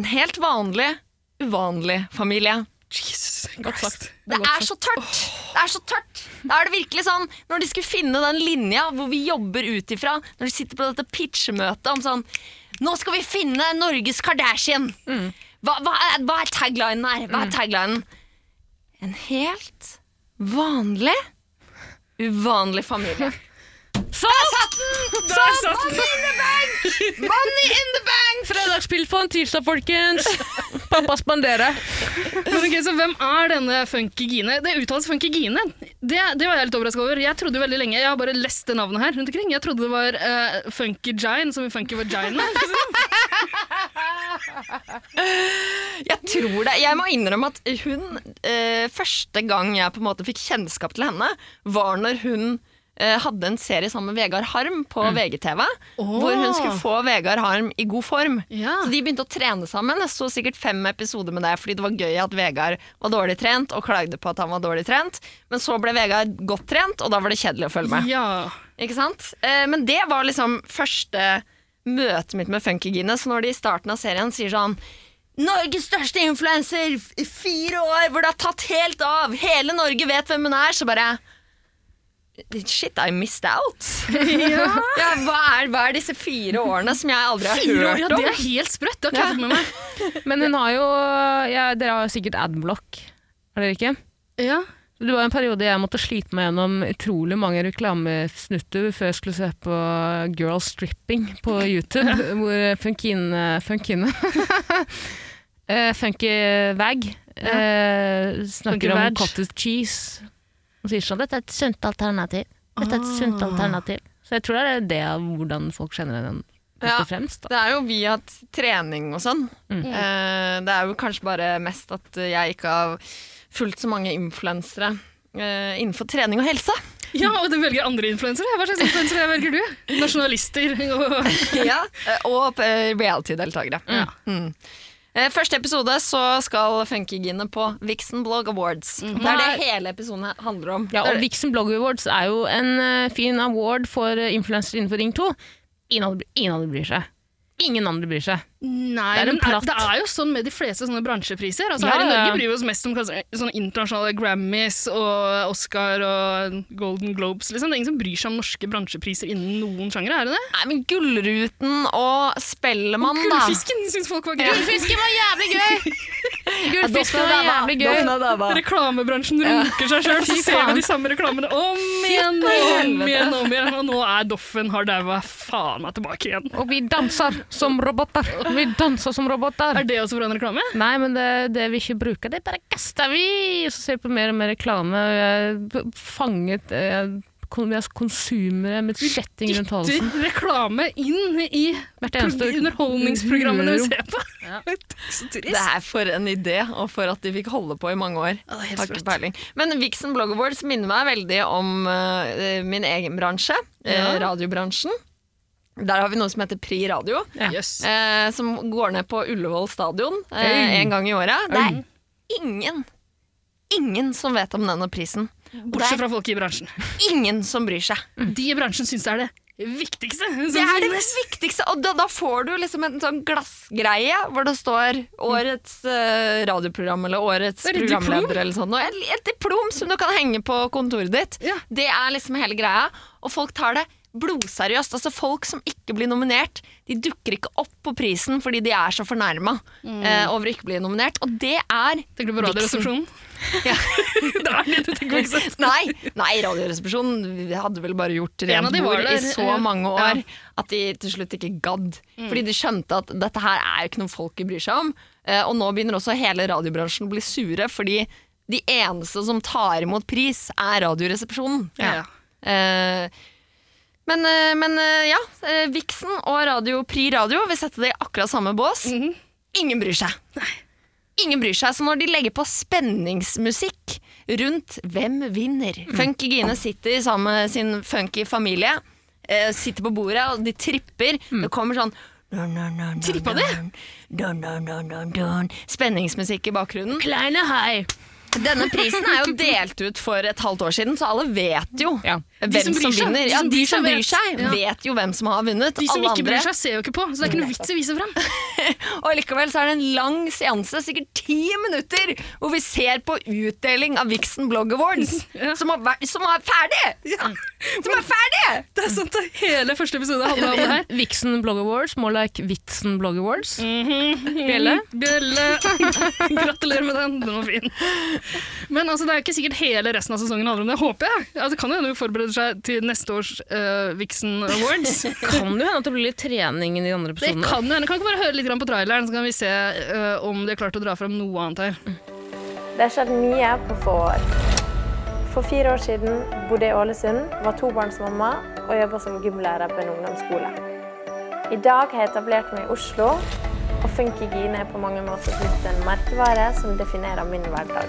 C: En helt vanlig, uvanlig familie.
A: Jesus
B: Godt sagt.
C: Det er så tørt! Det er så tørt! Da er det virkelig sånn, Når de skulle finne den linja hvor vi jobber ut ifra, når de sitter på dette pitchemøtet om sånn Nå skal vi finne Norges Kardashian! Hva, hva, er, hva er taglinen her? Hva er taglinen? En helt vanlig, uvanlig familie. Der satt den! Der satt den! Money in the bank! Money in the bank!
B: Fredagspill på en tirsdag, folkens! Pappa spanderer.
A: Men ok, så Hvem er denne Funky Gine? Det uttales Funky Gine. Det, det var jeg litt overraska over. Jeg trodde jo veldig lenge, jeg har bare lest det navnet her rundt omkring. Jeg trodde det var eh, Funky Gine, som i Funky Vagina. liksom.
C: Jeg tror det. Jeg må innrømme at hun eh, Første gang jeg på en måte fikk kjennskap til henne, var når hun eh, hadde en serie sammen med Vegard Harm på VGTV. Hvor hun skulle få Vegard Harm i god form.
A: Ja.
C: Så de begynte å trene sammen. Jeg så sikkert fem episoder med det, fordi det var gøy at Vegard var dårlig trent, og klagde på at han var dårlig trent. Men så ble Vegard godt trent, og da var det kjedelig å følge med.
A: Ja.
C: Ikke sant? Eh, men det var liksom første møtet mitt med Funkygine. Så når de i starten av serien sier sånn Norges største influenser i fire år, hvor det har tatt helt av! Hele Norge vet hvem hun er! Så bare Shit, I missed out! ja, hva, er, hva er disse fire årene som jeg aldri har
A: Fire år, ja,
C: hørt om?
A: det er helt sprøtt! Det har ikke jeg fått med meg.
B: Men hun har jo ja, Dere har jo sikkert adblock, har dere ikke?
A: Ja.
B: Det var en periode jeg måtte slite meg gjennom utrolig mange reklamesnutter før jeg skulle se på Girl Stripping på YouTube, hvor eh, Funkine Funkine eh, Funky Vag eh,
A: Funky
B: snakker om
A: Vag.
B: cottage cheese og sier sånn Dette er et sunt alternativ. Dette er et sunt
A: Ah.
B: alternativ. Så jeg tror det er det av hvordan folk kjenner den først
C: Ja.
B: og fremst. Da.
C: Det er jo via t- trening og sånn.
A: Mm.
C: Eh, det er jo kanskje bare mest at jeg ikke har fulgt så mange influensere eh, innenfor trening og helse.
A: ja, og du velger andre influensere. Hva slags influensere velger du? Nasjonalister og
C: ja, og eh, reality-deltakere. Mm. Eh, Første episode så skal Funkygine på Vixen Blog Awards. Det er det hele episoden he- handler om.
B: Mm. Ja, og Vixen Blog Awards er jo eh, en eh, fin award for influensere innenfor Ring 2. Ingen av de bryr seg. ingen andre bryr seg.
A: Nei,
B: Det er en
A: men
B: platt-
A: det er jo sånn med de fleste sånne bransjepriser. Altså,
B: Ja,
A: her i
B: ja.
A: Norge bryr vi oss mest om kanskje sånne internasjonale Grammys og Oscar og Golden Globes. Liksom. Det er ingen som bryr seg om norske bransjepriser innen noen sjangere, er det det?
C: Nei, men Gullruten og Spellemann, Mm, da.
A: Gullfisken syns folk var gøy!
B: Gullfisken var jævlig gøy! Gullfisken var jævlig gøy.
A: Reklamebransjen runker seg sjøl, så
C: Fy
A: ser
C: faen.
A: vi de samme reklamene om igjen og om igjen. Og om igjen. Og nå er Doffen har daua faen meg tilbake igjen.
B: Og vi danser som roboter. Vi danser som roboter.
A: Er det også fra en reklame?
B: Nei, men det, det vi ikke bruker, det bare kaster vi! Så ser vi på mer og mer reklame, og jeg er b- fanget eh, kon- Vi er konsumere med kjetting rundt halsen.
A: Dytter reklame inn i
B: Hvert eneste
A: prog- underholdningsprogrammene vi
B: hulrom.
A: ser på. Så trist.
C: Det er for en idé, og for at de fikk holde på i mange år.
A: Ja, det er helt
C: Har ikke
A: sprøtt.
C: peiling. Men Vixen Blog Awards minner meg veldig om eh, min egen bransje, eh,
A: Ja.
C: radiobransjen. Der har vi noe som heter Pri radio,
B: Ja.
A: Jøss.
C: eh, som går ned på Ullevål stadion eh, en gang i året. Det er ingen, ingen som vet om denne prisen. Og det
A: Bortsett
C: er
A: fra folk i bransjen.
C: ingen som bryr seg.
A: De i bransjen syns det er det viktigste. som
C: Mm. Det er det
A: finnes.
C: viktigste, og da, da får du liksom en sånn glassgreie hvor det står årets eh, radioprogram eller årets
A: Det er et diplom.
C: programleder eller sånn. Og et, et diplom som du kan henge på kontoret ditt.
A: Ja.
C: Det er liksom hele greia, og folk tar det blodseriøst. Altså folk som ikke blir nominert, de dukker ikke opp på prisen fordi de er så fornærma
A: Mm.
C: eh, over å ikke bli nominert, og det er
A: Tenker du på Radioresepsjonen?
C: Ja.
A: det er det du tenker på, ikke sant?
C: Nei, nei Radioresepsjonen hadde vel bare gjort
A: En av
C: rent
A: de var
C: bord i
A: der,
C: så
A: ja. Mm.
C: mange år at de til slutt ikke gadd. Fordi de skjønte at dette her er jo ikke noe folket bryr seg om. Eh, Og nå begynner også hele radiobransjen å bli sure, fordi de eneste som tar imot pris, er Radioresepsjonen.
A: Ja.
C: Eh, Men, eh, men eh, ja, eh, Vixen og radio, Pri Radio vil sette det i akkurat samme bås. Ingen bryr seg. Ingen bryr seg, så når de legger på spenningsmusikk rundt hvem vinner Funky Gine sitter sammen med sin funky familie, eh, sitter på bordet, og de tripper. Det kommer sånn Trippa de? Spenningsmusikk i bakgrunnen.
B: Kleine hei!
C: Denne prisen er jo delt ut for et halvt år siden, så alle vet jo
B: Ja.
C: hvem
A: som
C: som,
A: bryr seg.
C: vinner.
A: De
C: Ja,
A: som
C: de
A: bryr
C: som
A: seg
C: bryr seg,
A: vet.
C: vet jo hvem som har vunnet.
A: De som
C: alle
A: ikke bryr
C: andre.
A: seg, ser jo ikke på, så det er ikke noe vits i å vise fram.
C: Og likevel så er det en lang seanse, sikkert ti minutter, hvor vi ser på utdeling av Vixen Blog Awards,
A: Ja.
C: som, har vært, som er ferdig! Som er ferdig!
A: Det er sant, det. Hele første episode handler om det her.
B: Vixen Blog Awards, more like Vixen Blog Awards. Bjelle?
A: Bjelle! Gratulerer med den, den var fin. Men altså, det er jo ikke sikkert hele resten av sesongen handler om det, håper jeg. Altså, det kan jo hende hun forbereder seg til neste års eh, Vixen Awards.
B: Kan jo hende at det blir litt trening i de andre
A: Det
C: sånn,
B: episodene.
A: kan jo hende. Kan vi ikke bare høre litt grann på traileren, så kan vi se eh, om de har klart å dra fram noe annet her.
G: Det har skjedd mye på få år. For fire år siden bodde jeg i Ålesund, var tobarnsmamma og jobba som gymlærer på en ungdomsskole. I dag har jeg etablert meg i Oslo, og Funky Gine er på mange måter blitt en merkevare som definerer min hverdag.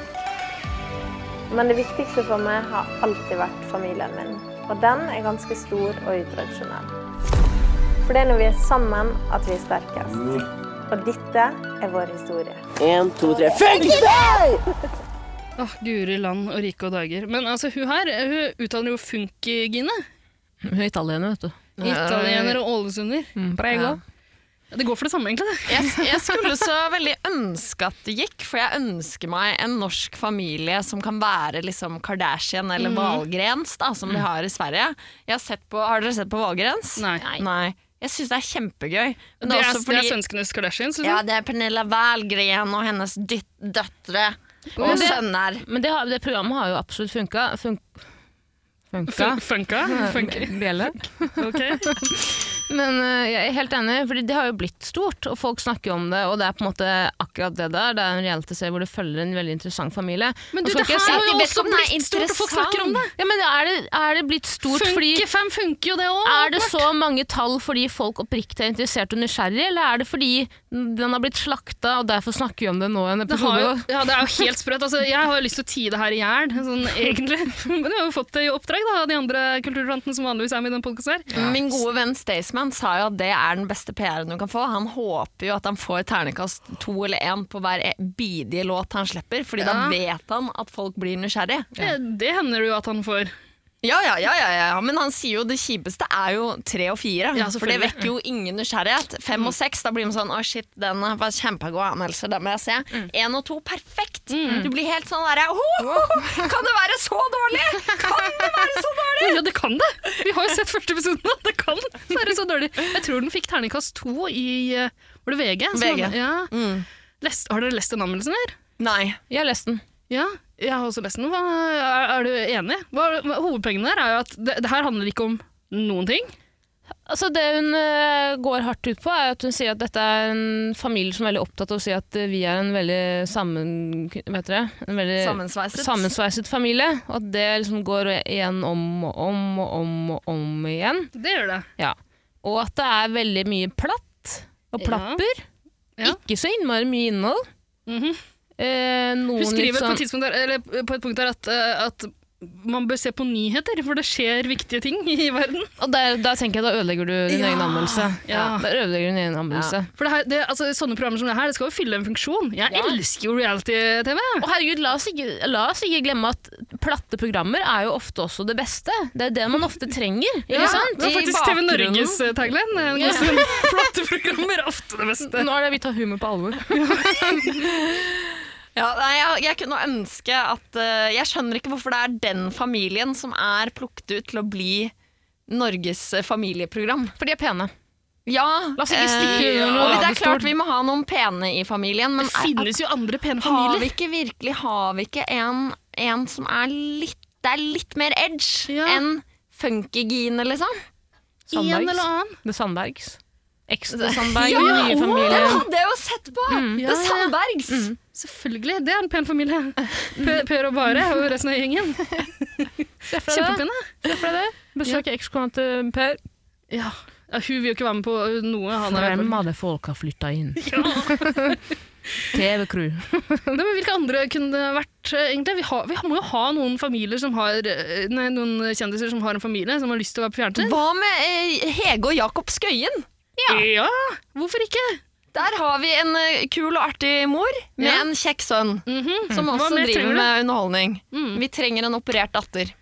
G: Men det viktigste for meg har alltid vært familien min, og den er ganske stor og utradisjonell. For det er når vi er sammen at vi er sterkest. Og dette er vår historie.
A: Åh, Guri land og rike og dager. Men altså, hun her eh, hun uttaler jo funkygine.
B: Hun er italiener, vet du.
A: Italiener og ålesunder.
B: Prego.
A: Det går for det samme, egentlig. det.
C: Jeg, jeg skulle så veldig ønske at det gikk, for jeg ønsker meg en norsk familie som kan være liksom Kardashian eller Valgrens, da, som de har i Sverige. Jeg har, sett på, har dere sett på Valgrens?
A: Nei.
C: Jeg syns det er kjempegøy. Men
A: Det
C: det
A: er,
C: er
A: det
C: også
A: er
C: fordi
A: svenskenes Kardashians.
C: ja,
A: Liksom.
C: det er Pernilla Wahlgren og hennes dyt døtre og
B: Men det-
C: sønner.
B: Men det, har, det programmet har jo absolutt funka. Fun funka?
A: Fun- Funka? Funky.
B: Bjelle.
A: Ok.
B: Men eh, jeg er helt enig, fordi det har jo blitt stort, og folk snakker jo om det, og det er på en måte akkurat det der. Det er en realityserie hvor det følger en veldig interessant familie.
A: Men
B: Og
A: du,
B: sånn, så
A: det
B: skal
A: her
B: jeg si-
A: har jo
C: Jeg vet ikke
A: også
C: om den er
A: blitt stort, og folk
C: interessant.
A: snakker om det.
B: Ja, men er det, er det blitt stort fordi
A: Funkefem funker jo det òg.
B: er det så mange tall fordi folk oppriktig er interessert og nysgjerrig, eller er det fordi den har blitt slakta, og derfor snakker vi om det nå i en
A: Det, har
B: episode?
A: jo, ja, det er jo helt sprøtt. Altså, jeg har jo lyst til å tie det her i hjel, sånn, egentlig. Men jeg har jo fått det i oppdrag da, av de andre kulturrantene som vanligvis er med i den podkasten her.
C: Min gode venn Staysman sa jo at det er den beste PR-en du kan få. Han håper jo at han får ternekast to eller én på hver e- bidige låt han slipper, Fordi da
A: Ja.
C: vet han at folk blir nysgjerrig.
A: Det, det hender det jo at han får.
C: Ja, ja, ja, ja, ja, men han sier jo det kjipeste er jo tre og fire.
A: Ja,
C: for det
A: selvfølgelig. Mm.
C: vekker jo ingen nysgjerrighet. Fem og seks, da blir man sånn 'Å, shit, den var kjempegod anmeldelse, den må jeg se'.
A: Mm.
C: Én og to, perfekt! Du blir helt sånn derre «Ho, ho, ho, Kan det være så dårlig?! Kan det være så dårlig?!
A: Ja, det kan det! Vi har jo sett første episoden, og det kan være så dårlig. Jeg tror den fikk terningkast to i eh, Var det VG? som
C: VG.
A: hadde- Ja.
B: Mm.
A: Lest, har dere lest den anmeldelsen her?
C: Nei.
B: Jeg har lest den.
A: Ja, jeg har også lest den. Hva, er, er du enig? Hva, hva- hovedpoenget der er jo at det, det her handler ikke om noen ting.
B: Altså Det hun eh, går hardt ut på, er at hun sier at dette er en familie som er veldig opptatt av å si at eh, vi er en veldig sammen... Vet dere? En veldig
C: Sammensveiset.
B: sammensveiset familie. Og at det liksom går igjen om og om og om og om igjen.
A: Det gjør det.
B: Ja. Og at det er veldig mye platt og
A: Ja.
B: plapper.
A: Ja.
B: Ikke så innmari mye innhold.
A: Mhm.
B: eh, noen
A: Hun skriver
B: litt
A: på,
B: sånn-
A: et tidspunkt der, eller på et punkt der at, eh, at man bør se på nyheter, for det skjer viktige ting i verden.
B: Og der, da tenker jeg da ødelegger du din egen anmeldelse.
A: Ja.
B: Der ødelegger du din egen anmeldelse.
A: For det her, det, altså, Sånne programmer som det her det skal jo fylle en funksjon. Jeg elsker jo reality-TV.
B: Og herregud, la oss, ikke, la oss ikke glemme at platte programmer er jo ofte også det beste. Det er det man ofte trenger. ikke sant?
A: Det var
C: I
A: faktisk TV
C: bakgrunnen.
A: Norges eh, tagline. En god stund. Flotte programmer, ofte det beste.
B: Nå er det vi tar humor på alvor.
C: Ja, nei, jeg, jeg kunne ønske at eh, Jeg skjønner ikke hvorfor det er den familien som er plukket ut til å bli Norges eh, familieprogram.
B: For de er pene.
C: Ja,
B: La oss ikke stikke
C: eh,
B: under noen
C: og Det er
B: radiostol.
C: klart vi må ha noen pene i familien, men
A: Det finnes jo andre pene
C: har
A: familier.
C: vi ikke virkelig Har vi ikke en, en som er litt Det er litt mer edge
A: Ja.
C: enn funkygine, liksom?
A: En eller annen.
B: The Sandbergs. Ekstra Sandberg,
C: Ja, Mm.
B: nye familie.
C: Den hadde jeg jo sett på!
A: Ja,
C: Det
A: ja, ja.
C: Sandbergs!
A: Selvfølgelig. Det er en pen familie. Per, per og Bare og resten av gjengen.
B: Se for deg det.
A: Kjempepene.
B: Se for deg det. Besøk ekskona til Per.
A: Ja. ja, Hun vil jo ikke være med på eh, noe. Han er med på.
B: Hvem hadde folk har flytta inn? TV-crew.
A: Nei, men hvilke andre kunne det vært, eh, egentlig? Vi, har, vi må jo ha noen familier som har eh, Nei, noen kjendiser som har en familie som har lyst til å være på fjernsyn.
C: Hva med eh, Hege og Jakob Skøyen?
A: Ja. Hvorfor ikke?
C: Der har vi en eh, kul og artig mor med
A: Ja.
C: en kjekk sønn.
A: Mhm.
C: Som
A: Hva
C: også
A: mer
C: driver
A: trenger du?
C: med underholdning.
A: Mm.
C: Vi trenger en operert datter.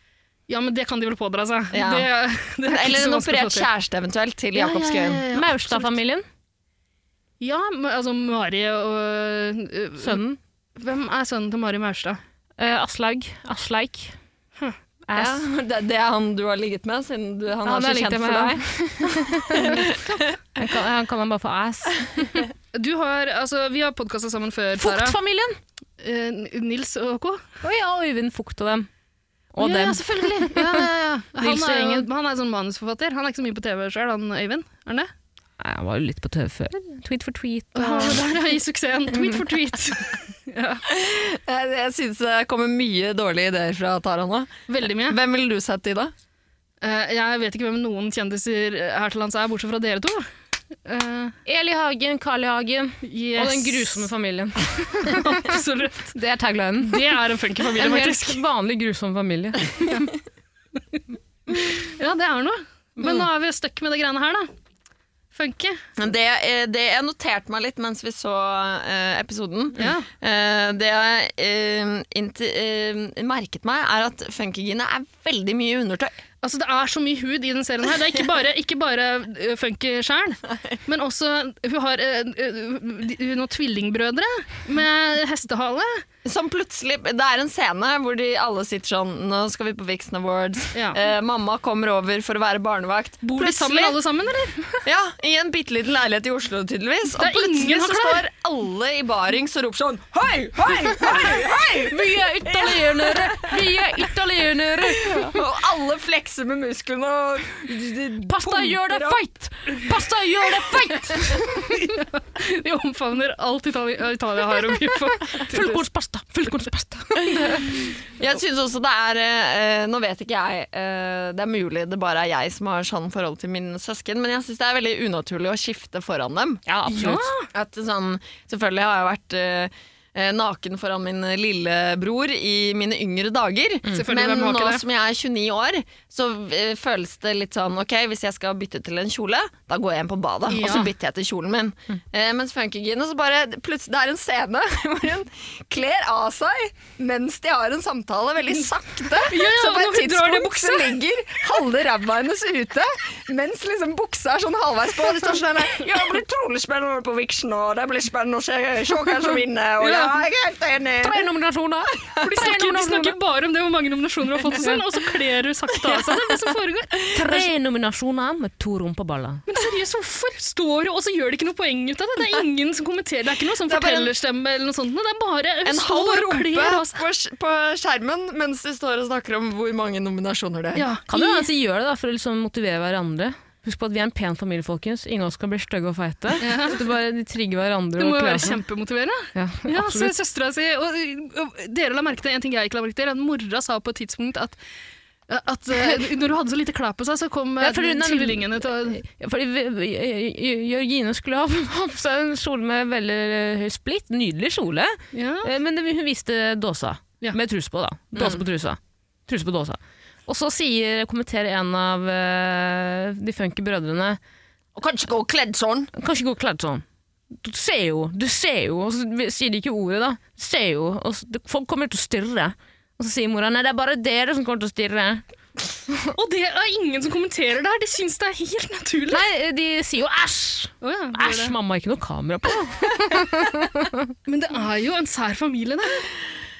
A: Ja, men det kan de vel pådra seg.
C: Ja.
A: Det, det er ikke
C: Eller
A: så vanskelig å
C: en
A: få
C: operert
A: til.
C: kjæreste eventuelt til Jakob Skøyen.
A: Ja, ja, ja, ja.
B: Maurstad-familien.
A: Ja, men, altså Mari og øh,
B: Sønnen.
A: Hvem er sønnen til Mari Maurstad?
B: Eh, Aslaug. Aslaug.
C: Ja,
B: Ass.
C: det, det er han du har ligget med, siden du, han,
B: Han har
C: er så
B: ligget
C: kjent
B: med
C: for
B: meg,
C: deg.
B: Han kan, han kan man bare få ass.
A: Du har, altså, vi har podkasta sammen før, Tara.
B: Fukt-familien!
A: Eh, Nils og K.
B: Å ja, Øyvind Fukt og dem. Og
A: ja,
B: dem.
A: ja, selvfølgelig! Ja, ja, ja. Han,
B: Nils og
A: er, jo-
B: gjengen.
A: han er sånn manusforfatter. Han er ikke så mye på TV sjøl, han Øyvind. Er han det?
B: Nei, han var jo litt på TV før. Tweet for tweet.
A: Og han der er i suksessen. Tweet for tweet.
C: Jeg, jeg synes det kommer mye dårlige ideer fra Tara nå.
A: Veldig mye.
C: Hvem ville du sett i da?
A: Eh, jeg vet ikke hvem noen kjendiser her til lands er, bortsett fra dere to. Eh,
B: Eli Hagen, Carl I. Hagen
A: yes.
B: og den grusomme familien.
A: Absolutt.
B: Det er taglinen.
A: Det er en funky familie,
B: En
A: faktisk.
B: helt vanlig grusom familie.
A: Ja, det er noe.
B: Mm.
A: Men nå er vi stuck med det greiene her, da. Funky.
C: Det, eh, det jeg noterte meg litt mens vi så eh, episoden.
A: Ja.
C: Eh, det jeg eh, innti- eh, merket meg, er at funkygine er veldig mye undertøy.
A: Altså, det er så mye hud i den serien her. Det er ikke bare, ikke bare øh, funky sjæl, men også Hun har øh, øh, de- noen tvillingbbrødre med hestehale.
C: Som plutselig, Det er en scene hvor de alle sitter sånn Nå skal vi på Vixen Awards.
A: Ja.
C: Eh, mamma kommer over for å være barnevakt.
A: Bor de sammen, alle sammen, eller?
C: Ja, I en bitte liten leilighet i Oslo, tydeligvis.
A: Der
C: Og plutselig
A: ingen har
C: så
A: klær.
C: står alle i barings og roper sånn Hei, hei, hei! hei!
B: Vi er italienere! Vi er italienere!
C: Og alle flekser med musklene og
B: Pasta gjør det feit! Pasta gjør det feit!
A: De omfavner alt Italia, Italia har å by på.
B: Fullkornspasta! Fullkornspasta!
C: Jeg synes også det er eh, Nå vet ikke jeg eh, Det er mulig det bare er jeg som har sånn forhold til mine søsken, men jeg syns det er veldig unaturlig å skifte foran dem.
B: Ja, absolutt.
C: At sånn, selvfølgelig har jeg vært eh, eh, naken foran min lillebror i mine yngre dager.
A: Selvfølgelig,
C: Mm. Men
A: hvem har
C: nå
A: ikke det?
C: som jeg er 29 år, så eh, føles det litt sånn Ok, hvis jeg skal bytte til en kjole, da går jeg inn på badet, og så
A: Ja.
C: bytter jeg til kjolen min. Eh, mens funkygine så bare Plutselig det er en scene hvor hun kler av seg mens de har en samtale, veldig sakte.
A: ja,
C: så på
A: når
C: et
A: hun drar ned
C: tidspunkt så ligger halve ræva hennes ute, mens liksom buksa er sånn halvveis på. Og de står sånn der Ja, det blir trolig spennende på Vixen, og det blir spennende å se se hvem som vinner, og ja, jeg er helt enig.
B: Tre nominasjoner!
A: For de snakker, de snakker bare om det hvor mange nominasjoner du har fått, og sånn, og så kler du sakte av seg. Det er det som foregår.
B: Tre nominasjoner med to rumpeballer.
A: Men seriøst, hvorfor står du og så gjør de ikke noe poeng ut av det? Det er ingen som kommenterer, det er ikke noe sånn
C: Det er bare en-
A: fortellerstemme eller noe sånt. men Det er bare
C: En
A: hun står
C: halv altså.
A: bare og
C: rumpe
A: kler av seg.
C: på, sk- på skjermen mens de står og snakker om hvor mange nominasjoner det er.
A: Ja,
B: Kan jo hende at de gjør det da, for å liksom motivere hverandre. Husk på at vi er en pen familie, folkens. Ingen av oss kan bli stygge og feite. Så det bare de trigger hverandre.
A: Det må jo
B: og kler
A: være
B: seg.
A: kjempemotiverende.
B: Ja,
A: Ja, så
B: absolutt.
A: søstera si og, og Dere la merke til en ting jeg ikke la merke til, at mora sa på et tidspunkt at at eh, når du hadde så lite klær på seg, så kom eh,
B: Ja, for hun er-
A: tvillingene til å
B: Ja, fordi vi- vi- Jø- Jørgine skulle ha på seg en kjole med veldig eh, høy splitt. Nydelig kjole.
A: ja.
B: Eh, Men det, hun viste dåsa,
A: Ja.
B: med truse på. da. Dåse på trusa. Truse på dåsa. Og så sier, kommenterer en av eh, de funky brødrene
C: Og kanskje gå kledd sånn.
B: Kanskje ikke gå kledd sånn. Du ser jo, du ser jo, og så sier de ikke ordet, da. Du ser jo, og så, Folk kommer til å stirre. Og så sier mora nei, det er bare dere som kommer til å stirre.
A: Og det er ingen som kommenterer det her! De syns det er helt naturlig.
B: Nei, de sier jo æsj!
A: Å ja, det gjør
B: Æsj,
A: det.
B: mamma har ikke noe kamera på.
A: Men det er jo en sær familie, det.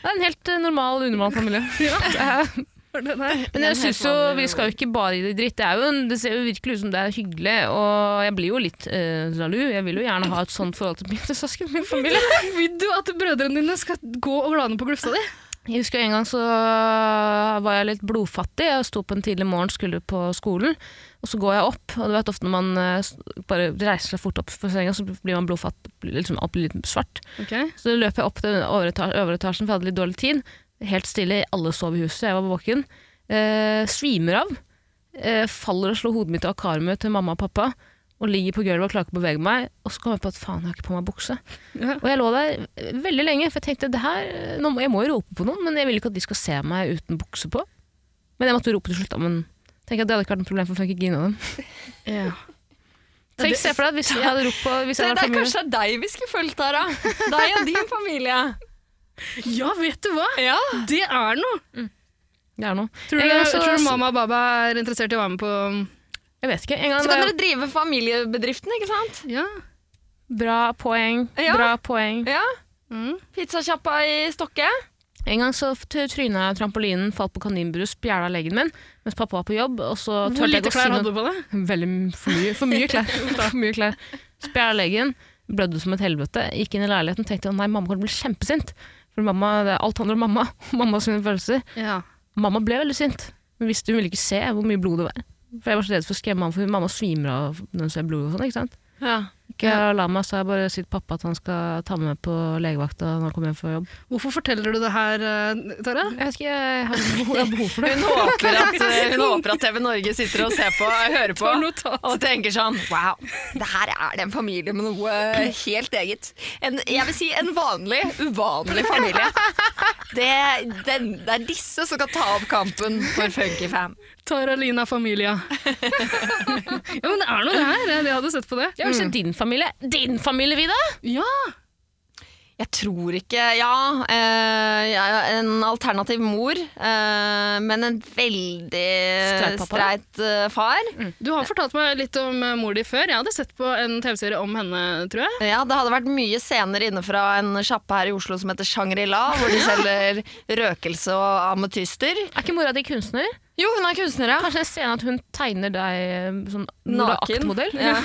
B: Det er en helt eh, normal undermannsfamilie.
A: Det der.
B: Men jeg synes jo, vi skal jo ikke bare gi det dritt. Det, er jo en, det ser jo virkelig ut som det er hyggelig, og jeg blir jo litt eh, jalu. Jeg vil jo gjerne ha et sånt forhold til mine søsken. Min familie.
A: Vil du at brødrene dine skal gå og glane på glufsa di?
B: Jeg husker en gang så var jeg litt blodfattig. Jeg sto opp en tidlig morgen, skulle på skolen. Og så går jeg opp, og du vet ofte når man eh, s- bare reiser seg fort opp fra senga, så blir man blodfattig, blir liksom, alt blir litt svart. Så løper jeg opp til øvre eta- øvre etasjen, for jeg hadde litt dårlig tid. Helt stille, alle sov i huset, jeg var våken. Eh, svimer av. Eh, faller og slår hodet mitt av karmet til mamma og pappa. Og ligger på gulvet og klarer ikke å bevege meg. Og så kom jeg på at faen, jeg har ikke på meg bukse.
A: Ja.
B: Og jeg lå der eh, veldig lenge, for jeg tenkte det her, eh, nå må, jeg må jo rope på noen, men jeg vil ikke at de skal se meg uten bukse på. Men jeg måtte jo rope til slutt, da. Men tenk at det hadde ikke vært noe problem for Funky Gine og dem.
A: Ja.
B: Tenk, se for deg at hvis jeg hadde ropt på hvis jeg
C: Det,
B: hadde vært
C: det er
B: familie.
C: kanskje deg vi skulle fulgt, Tara. Deg og din familie.
A: ja, vet du hva?
C: Ja.
A: Det er noe!
B: Det er noe.
A: Tror du,
B: Jeg er så-
A: tror du mamma og baba er interessert i å være med på
B: Jeg vet ikke. En gang
C: Så
B: da
C: kan
B: jeg-
C: dere drive familiebedriften, ikke sant?
A: Ja.
B: Bra poeng.
C: Ja.
B: Bra poeng.
C: Ja.
A: Mm.
C: Pizzasjappa i Stokke.
B: En gang så t- tryna jeg trampolinen, falt på kaninbrus, spjæla leggen min mens pappa var på jobb. Og så
A: Hvor
B: tørte
A: lite
B: jeg ikke å si
A: klær hadde
B: noe.
A: du på deg?
B: Veldig m- for mye, for mye klær. for mye klær. Spjæla leggen, blødde som et helvete. Gikk inn i leiligheten og tenkte nei, mamma kommer til å bli kjempesint. For mamma, det er alt handler om mamma og mamma sine følelser.
A: Ja.
B: Mamma ble veldig sint. Hun visste hun ville ikke se hvor mye blod det var. For jeg var så redd for å skremme mamma, for mamma svimer av når hun ser blod og sånn. ikke sant?
C: Ja.
B: Ikke la meg, sa jeg bare si til pappa at han skal ta med meg på legevakta når han kommer hjem fra jobb.
A: Hvorfor forteller du det her, eh, Tara?
B: Jeg vet ikke, jeg har behov, jeg har behov for det.
C: Hun håper, at, eh, hun håper at TV Norge sitter og ser på og hører på og tenker sånn Wow, det her er det en familie med noe helt eget. En, jeg vil si en vanlig, uvanlig familie. Det, den, det er disse som skal ta opp kampen for Funkyfam.
A: Tara Lina Familia. ja, men det er noe det her. Jeg hadde sett på det.
B: Ja, Kanskje din familie? Din familie, Vida?
A: Ja,
C: Jeg tror ikke Ja, eh, jeg er en alternativ mor, eh, men en veldig
B: Streit pappa.
C: streit eh, far.
A: Du har fortalt meg litt om eh, mor di før. Jeg hadde sett på en TV-serie om henne, tror jeg.
C: Ja, Det hadde vært mye scener inne fra en sjappe her i Oslo som heter Shangri-La, hvor de selger røkelse og ametyster.
B: Er ikke mora di kunstner?
C: Jo, hun er kunstner, ja.
B: Kanskje en scene at hun tegner deg eh, sånn
C: Naken.
B: nakenmodell?
C: Ja.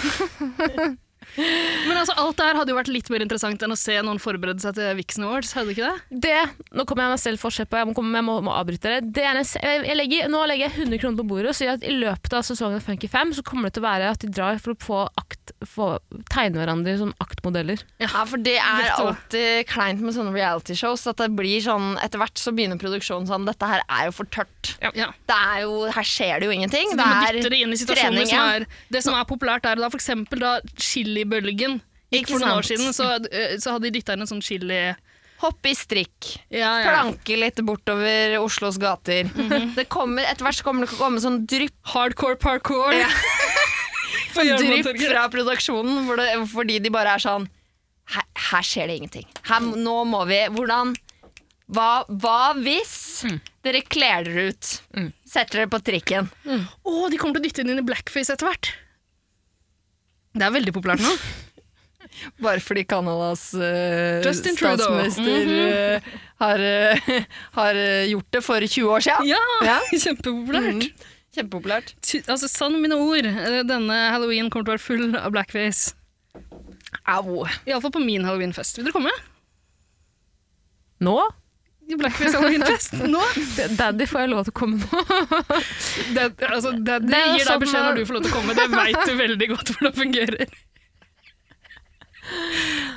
A: Men altså, alt det her hadde jo vært litt mer interessant enn å se noen forberede seg til Vixen Awards, hadde ikke det?
B: Det, nå kommer jeg meg selv forskjell på, jeg må, komme- jeg må, må avbryte dere. Det er en, se- jeg, jeg legger, nå legger jeg 100 kroner på bordet og sier at i løpet av sesongen av Funky 5 så kommer det til å være at de drar for å få akt, få, tegne hverandre som aktmodeller.
C: Ja, for det er
A: Vet du hva?
C: alltid kleint med sånne realityshows. At det blir sånn Etter hvert så begynner produksjonen sånn Dette her er jo for tørt.
A: Ja.
C: Det er jo Her skjer det jo ingenting.
A: Så de
C: Det
A: må
C: er
A: dytte det inn i situasjoner
C: trening,
A: som
C: ja.
A: er Det som er populært der og da, for eksempel da chilibølgen. Ikke
C: Ikke
A: for noen år
C: sant.
A: siden så, eh, så hadde de dytta inn en sånn chili
C: Hoppe i strikk.
A: Ja, ja.
C: Planke litt bortover Oslos gater. Det kommer, Etter hvert så kommer det til å komme sånn drypp, Sånn
A: Hardcore parkour. For
C: drypp
A: Jørmund-torget.
C: fra produksjonen, hvor det, fordi de bare er sånn Her, her skjer det ingenting. Her, nå må vi Hvordan Hva, hva hvis
A: Mm.
C: dere kler dere ut? Setter dere på trikken?
A: Å, de kommer til å dytte den inn i blackface etter hvert. Det er veldig populært nå.
C: Bare fordi Canadas eh,
A: Justin Trudeau. Mhm.
C: statsminister eh, har, eh, har eh, gjort det for 20 år siden.
A: Ja,
C: Ja.
A: kjempepopulært.
C: Mhm. Kjempepopulært.
A: Ty- Altså, Sann mine ord, eh, denne halloween kommer til å være full av blackface.
C: Au.
A: Iallfall på min halloweenfest. Vil dere komme?
B: Nå?
A: I Blackface halloweenfest nå?
B: Daddy, får jeg lov til å komme nå?
A: Det, altså, det, det, eh,
B: Det er jo
A: gir
B: sånn
A: deg beskjed
B: man-
A: når du får lov til å komme. Det veit du veldig godt hvordan det fungerer.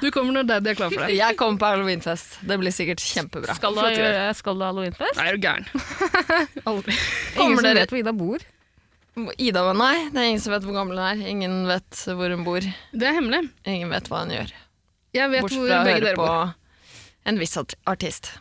A: Du kommer når daddy er klar for deg.
C: Jeg kommer på halloweenfest. Det blir sikkert kjempebra.
B: Skal du ha,
A: Flott gjør.
B: gjøre- skal du ha halloweenfest?
A: Nei, er du gæren? Aldri.
B: Ingen
C: Kommer
B: som
C: dere-
B: vet hvor Ida bor?
C: Ida og nei, det er ingen som vet hvor gammel hun er. Ingen vet hvor hun bor.
A: Det er hemmelig.
C: Ingen vet hva hun gjør.
A: Jeg vet
C: Bortsett
A: hvor
C: fra å
A: begge
C: høre
A: dere
C: på
A: bor.
C: en viss art- artist.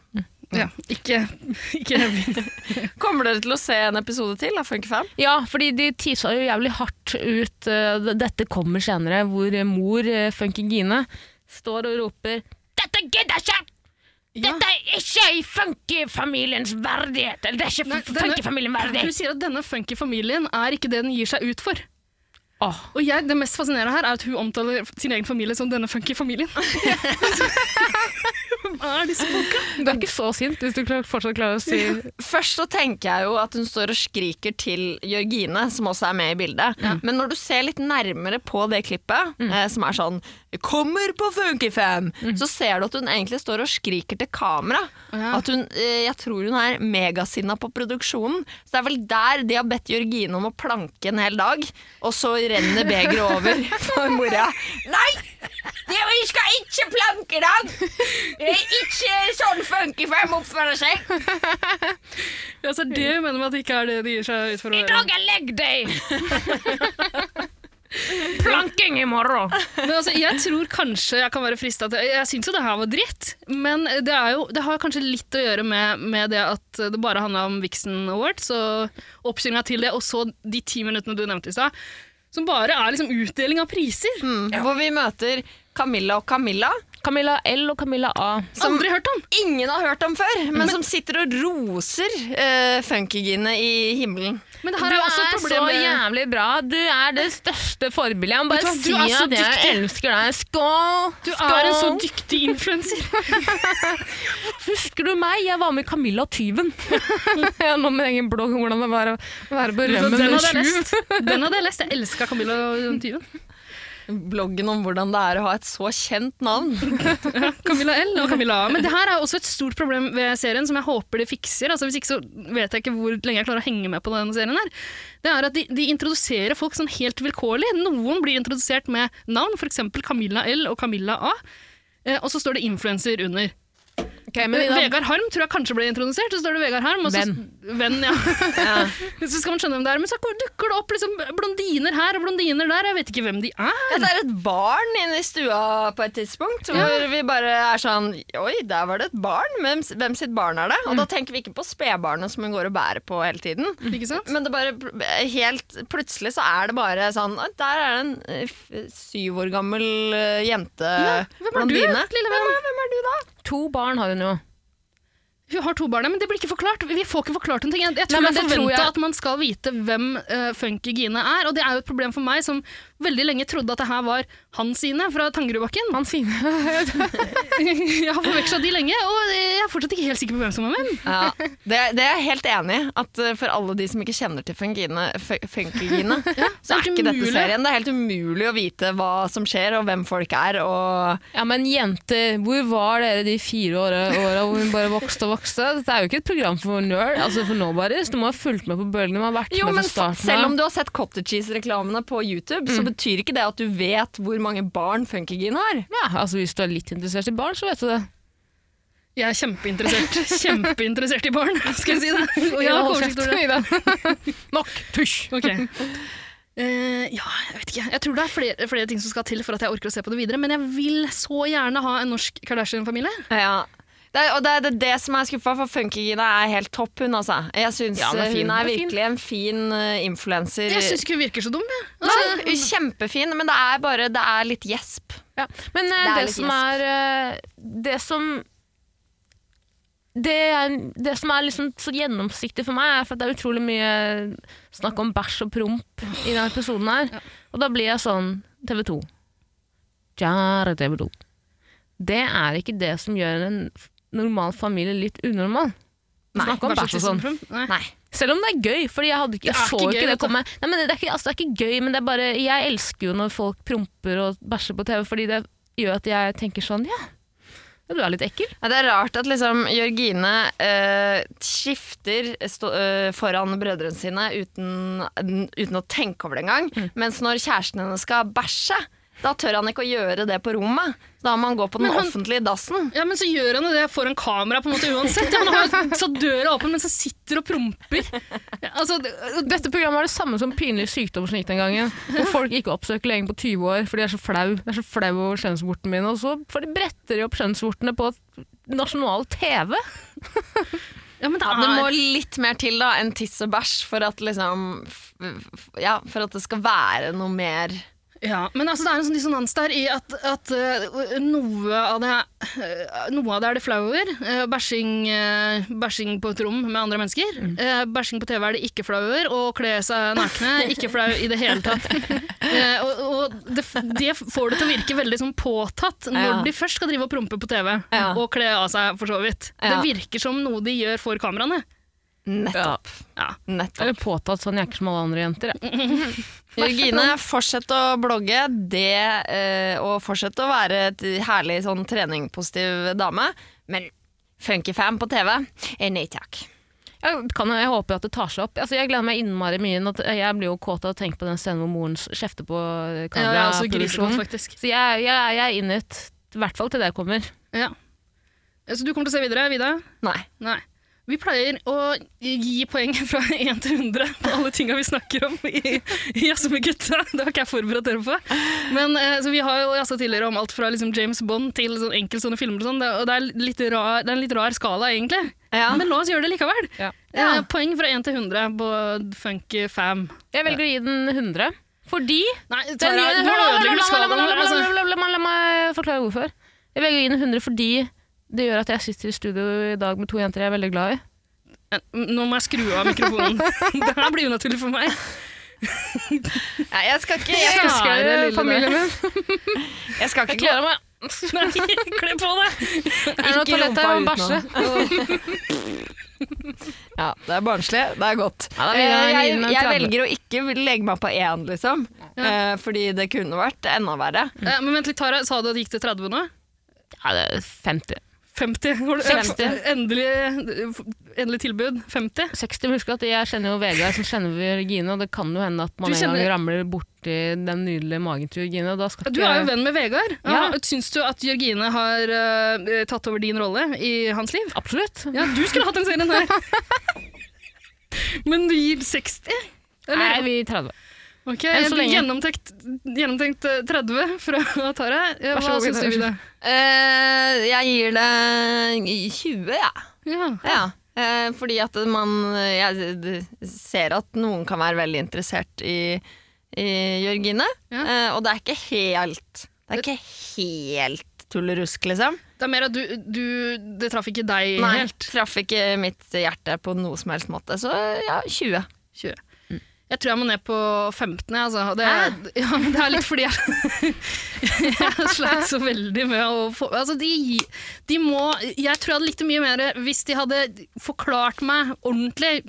A: Ja, ikke, ikke
C: Kommer dere til å se en episode til av Funkfam?
B: Ja, fordi de tisa jo jævlig hardt ut eh, d- Dette kommer senere, hvor eh, mor, uh, Funky Gine, står og roper Dette gidder ikke! Dette er ikke i funky-familiens verdighet! Eller det er ikke
A: Nei,
B: f-
A: denne-
B: funky-familien
A: Hun
B: verdig!
A: sier at denne funky familien er ikke det den gir seg ut for.
B: Åh,
A: Og jeg, det mest fascinerende her er at hun omtaler sin egen familie som denne funky familien. Hvem er disse folka?
B: du er ikke så sint hvis du klar, fortsatt klarer å si
C: Først så tenker jeg jo at hun står og skriker til Jørgine, som også er med i bildet. Men når du ser litt nærmere på det klippet, eh, som er sånn 'Kommer på Funkifem', så ser du at hun egentlig står og skriker til kamera.
A: ja.
C: At hun, eh, jeg tror hun er megasinna på produksjonen. Så det er vel der de har bedt Jørgine om å planke en hel dag, og så renner begeret over for mora. Nei! Dere skal ikke planke i dag! Det er ikke sånn Funkifem oppfører seg!
A: Ja, så er det hun mener med at det ikke er det de gir seg ut for. å
B: I
A: være.
B: dag er legg deg! Planking i morgen!
A: Men altså, jeg tror kanskje jeg kan være frista til Jeg syns jo det her var dritt, men det, er jo, det har kanskje litt å gjøre med, med det at det bare handla om Vixen Awards og oppkjøringa til det, og så de ti minuttene du nevnte i stad, som bare er liksom utdeling av priser.
C: Hvor vi møter Camilla og Camilla,
B: Camilla L og Camilla A.
A: Aldri hørt om!
C: ingen har hørt om før, men, som sitter og roser uh, funkygine i himmelen.
A: Men det
B: Du
A: her er jo også
B: er
A: et
B: så
A: problem med
B: jævlig bra. Du er det største forbildet. Jeg må
A: Vet du
B: bare
A: hva, du
B: si
A: er så
B: at jeg
A: dyktig.
B: elsker deg. Skål!
A: Du
B: skål.
A: er en så dyktig influenser.
B: Husker du meg? Jeg var med i Camilla Tyven. jeg har nå med egen blogg om hvordan det var å være på
A: Den
B: rømmen med
A: hadde jeg
B: sju.
A: lest. Den hadde jeg lest. Jeg elska Camilla og Tyven.
C: Bloggen om hvordan det er å ha et så kjent navn.
A: Camilla L og Camilla A. Men det her er også et stort problem ved serien som jeg håper de fikser. Altså, hvis ikke så vet jeg ikke hvor lenge jeg klarer å henge med på denne serien. her. Det er at De, de introduserer folk sånn helt vilkårlig. Noen blir introdusert med navn, f.eks. Camilla L og Camilla A. Eh, og så står det influenser under.
B: Ok, men Ida,
A: Vegard Harm tror jeg kanskje ble introdusert. Så står det Vegard Harm, og så, venn ja. så skal man skjønne hvem det er. Men så dukker det opp liksom, blondiner her og blondiner der. Jeg vet ikke hvem de er.
C: Ja, det er et barn inne i stua på et tidspunkt, hvor vi bare er sånn Oi, der var det et barn. Hvem, hvem sitt barn er det? Og da tenker vi ikke på spedbarnet som hun går og bærer på hele tiden.
A: Ikke sant?
C: Men det bare pl- eh, helt plutselig så er det bare sånn «Å, Der er det en eh, f- syv år gammel eh, jente
A: Hvem er du,
C: blondine.
A: lille venn?
C: Hvem er du da?
B: to barn har hun jo.
A: Hun har to barn, ja, men det blir ikke forklart. Vi får ikke forklart en ting. Jeg, jeg tror
B: Nei, men
A: jeg
B: det tror
A: forventa
B: jeg-
A: at man skal vite hvem eh, Funky Gine er, og det er jo et problem for meg som veldig lenge trodde at det her var han sine fra Tangerudbakken.
B: Han sier
A: jeg har forveksla de lenge, og jeg er fortsatt ikke helt sikker på hvem som er hvem.
C: Ja, det, det er jeg helt enig i. At eh, for alle de som ikke kjenner til Funkygine, så er
A: helt
C: ikke dette
A: umulig.
C: serien. Det er helt umulig å vite hva som skjer, og hvem folk er. Og
B: Ja, men jenter, hvor var dere de fire åra åra hvor hun bare vokste og vokste? Dette er jo ikke et program for nerd, altså for nobodies. Du må ha fulgt med på bølgene. Du må ha vært
C: jo,
B: med
C: men
B: fra starten.
C: selv om du har sett Cottage Cheese-reklamene på YouTube, så betyr ikke det at du vet hvor mange barn Funkygine har.
B: ja, altså Hvis du er litt interessert i barn, så vet du det.
A: Jeg er kjempeinteressert kjempeinteressert i barn, skal jeg si det. Og jeg har
B: Hold
A: oversikt
B: kjeft,
A: over det.
B: Ida. Nok tusj!
A: Ok. Eh, ja, jeg vet ikke. Jeg tror det er flere, flere ting som skal til for at jeg orker å se på det videre, men jeg vil så gjerne ha en norsk Kardashian-familie.
C: Ja. Det er, og det er det, er det som er skuffa, for Funkygina er helt topp, hun, altså. Jeg syns
B: Ja, hun er
C: eh,
B: fin. Hun
C: hun er
B: er fin.
C: virkelig en fin eh, influenser.
A: Jeg syns ikke hun virker så dum, jeg.
C: Nei,
A: Altså,
C: hun er kjempefin, men det er bare Det er litt gjesp.
B: Ja. Men eh,
C: Det er
B: det,
C: litt
B: som er eh, Det som det, er, det som er liksom så gjennomsiktig for meg, er for at det er utrolig mye snakk om bæsj og promp i denne episoden her. Og da blir jeg sånn TV 2. Kjære TV 2. Det er ikke det som gjør en f- normal familie litt unormal.
C: Nei,
B: Snakk om
A: kanskje
B: bæsj og sånn.
A: tissen fra- Nei.
C: Nei.
B: Selv om det er gøy, fordi jeg, hadde ikke,
A: Det er
B: jeg så
A: ikke
B: ikke,
A: gøy,
B: det
A: vet du.
B: komme. Nei, men det, er ikke, altså, det er ikke gøy, men det er bare Jeg elsker jo når folk promper og bæsjer på TV, fordi det gjør at jeg tenker sånn Ja, du er litt ekkel.
C: Ja, det er rart at liksom Jørgine eh, skifter stå, eh, foran brødrene sine uten, uten å tenke over det engang. Mens når kjæresten hennes skal bæsje, da tør han ikke å gjøre det på rommet. Da må han gå på den
A: Men han-
C: offentlige dassen.
A: Ja, men så gjør han jo det foran kamera på en måte uansett. Ja, men han har jo satt døra åpen mens han sitter og promper. Ja, Altså, det-
B: Dette programmet er det samme som pinlig sykdom som gikk den gangen. Hvor folk ikke oppsøker legen på 20 år, for de er så flau De er så flau over skjønnsvorten min. Og så får de bretter de opp skjønnsvortene på nasjonal TV.
A: ja, men det
C: Ja, det må
A: er
C: litt mer til da enn tiss og bæsj for at liksom f- f- Ja, for at det skal være noe mer
A: Ja, men altså, det er en sånn dissonans der i at, at eh, noe, av det, eh, noe av det er det flau over. Eh, bæsjing, eh, bæsjing på et rom med andre mennesker.
C: Mm.
A: Eh, bæsjing på TV er det ikke flau over. Å kle seg nakne, ikke flau i det hele tatt. Eh, og og det, f- det får det til å virke veldig sånn påtatt når
C: Ja.
A: de først skal drive og prompe på TV
C: Ja.
A: og kle av seg, for så vidt.
C: Ja.
A: Det virker som noe de gjør for kameraene.
C: Nettopp.
A: Ja.
C: Nettopp.
B: Eller påtatt sånn, jeg er ikke som alle andre jenter. jeg.
C: Jørgine, fortsett å blogge det, eh, og fortsett å være et herlig sånn treningpositiv dame. Men funkyfam på TV? Eh, Nei takk.
B: Jeg, kan, jeg håper at det tar seg opp. Altså, jeg gleder meg innmari mye. nå til- Jeg blir jo kåt av å tenke på den scenen hvor moren kjefter på eh,
A: Ja, jeg er også
B: kameraproduksjonen.
A: grisekåt, altså faktisk.
B: Så jeg, jeg, jeg er in it, i hvert fall til det kommer.
A: Ja. Eh, Så du kommer til å se videre, Vida?
C: Nei.
A: Nei. Vi pleier å gi poeng fra 1 til 100 på alle tinga vi snakker om i i Jazz med gutta. Det har ikke jeg forberedt dere på. Men eh, så Vi har jo jazza tidligere om alt fra liksom James Bond til sånn enkeltstående filmer. og sånn. Det, og det, er litt rar, det er en litt rar skala, egentlig.
C: Ja.
A: Men la oss gjøre det likevel.
B: Ja.
A: Eh, poeng fra 1 til 100 på Funky Fam.
B: Jeg velger å gi den 100. Fordi
A: Nei,
B: den,
A: Tara, nå
B: gjør- la- la- la-
A: ødelegger du
B: la- la- la- la-
A: skalaen.
B: la- la-
A: altså.
B: la- la- la- La meg forklare hvorfor. Jeg velger å gi den 100 fordi det gjør at jeg sitter i studio i dag med to jenter jeg er veldig glad i.
A: Eh, Nå må jeg skru av mikrofonen. det her blir unaturlig for meg.
C: Nei, jeg skal ikke, jeg
B: Jeg
C: skal,
A: elsker
B: elsker
A: det, lille
B: familien min.
C: jeg skal ikke
B: Jeg
C: gå
B: gleder meg.
A: Nei, Kle på deg!
B: Er det noe
C: Ikke
B: toalett her? Jeg må
C: rumpa
B: bæsje.
C: Ja, det er barnslig. Det er godt.
B: Ja, da vil
C: Eh,
B: jeg gi
C: jeg,
B: den en
C: jeg
B: 30.
C: velger å ikke legge meg på én, liksom. Eh, Fordi det kunne vært enda verre.
A: Eh, men vent litt, Tara. Sa du at det gikk til 30 nå?
B: Ja, det er 50.
A: 50. Har du-
B: 50.
A: Endelig, endelig tilbud. 50.
B: 60, men husk at jeg kjenner jo Vegard som kjenner Regine, og det kan jo hende at man
A: Du
B: en
A: kjenner-
B: gang ramler borti den nydelige magen til Regine, og da skal
A: Du
B: ikke
A: er jo
B: jeg-
A: venn med Vegard. Ja.
B: Ja.
A: Syns du at Jørgine har eh, tatt over din rolle i hans liv?
B: Absolutt.
A: Ja, du skulle hatt den serien her! Men du gir 60?
B: Nei,
A: Eller?
B: vi gir 30.
A: Ok,
B: Enn så lenge.
A: gjennomtenkt, gjennomtenkt eh, 30 fra Tara. Eh,
B: Vær
A: Hva
B: så god,
A: syns du,
B: Vidar.
A: Vida?
C: Eh, jeg gir det 20, jeg. Ja.
A: Ja.
C: Ja. eh, fordi at man Jeg d- ser at noen kan være veldig interessert i, i Jørgine.
A: Ja.
C: eh, og det er ikke helt Det er ikke helt tullerusk, liksom.
A: Det er mer at du, du Det traff ikke deg
C: Nei,
A: helt.
C: traff ikke mitt hjerte på noe som helst måte. Så ja, 20.
A: 20.
B: Mm.
A: Jeg tror jeg må ned på 15. jeg, Altså. Det, ja, men det er litt fordi jeg, jeg sleit så veldig med å få altså de, de må Jeg tror jeg hadde likt det mye mer hvis de hadde forklart meg ordentlig.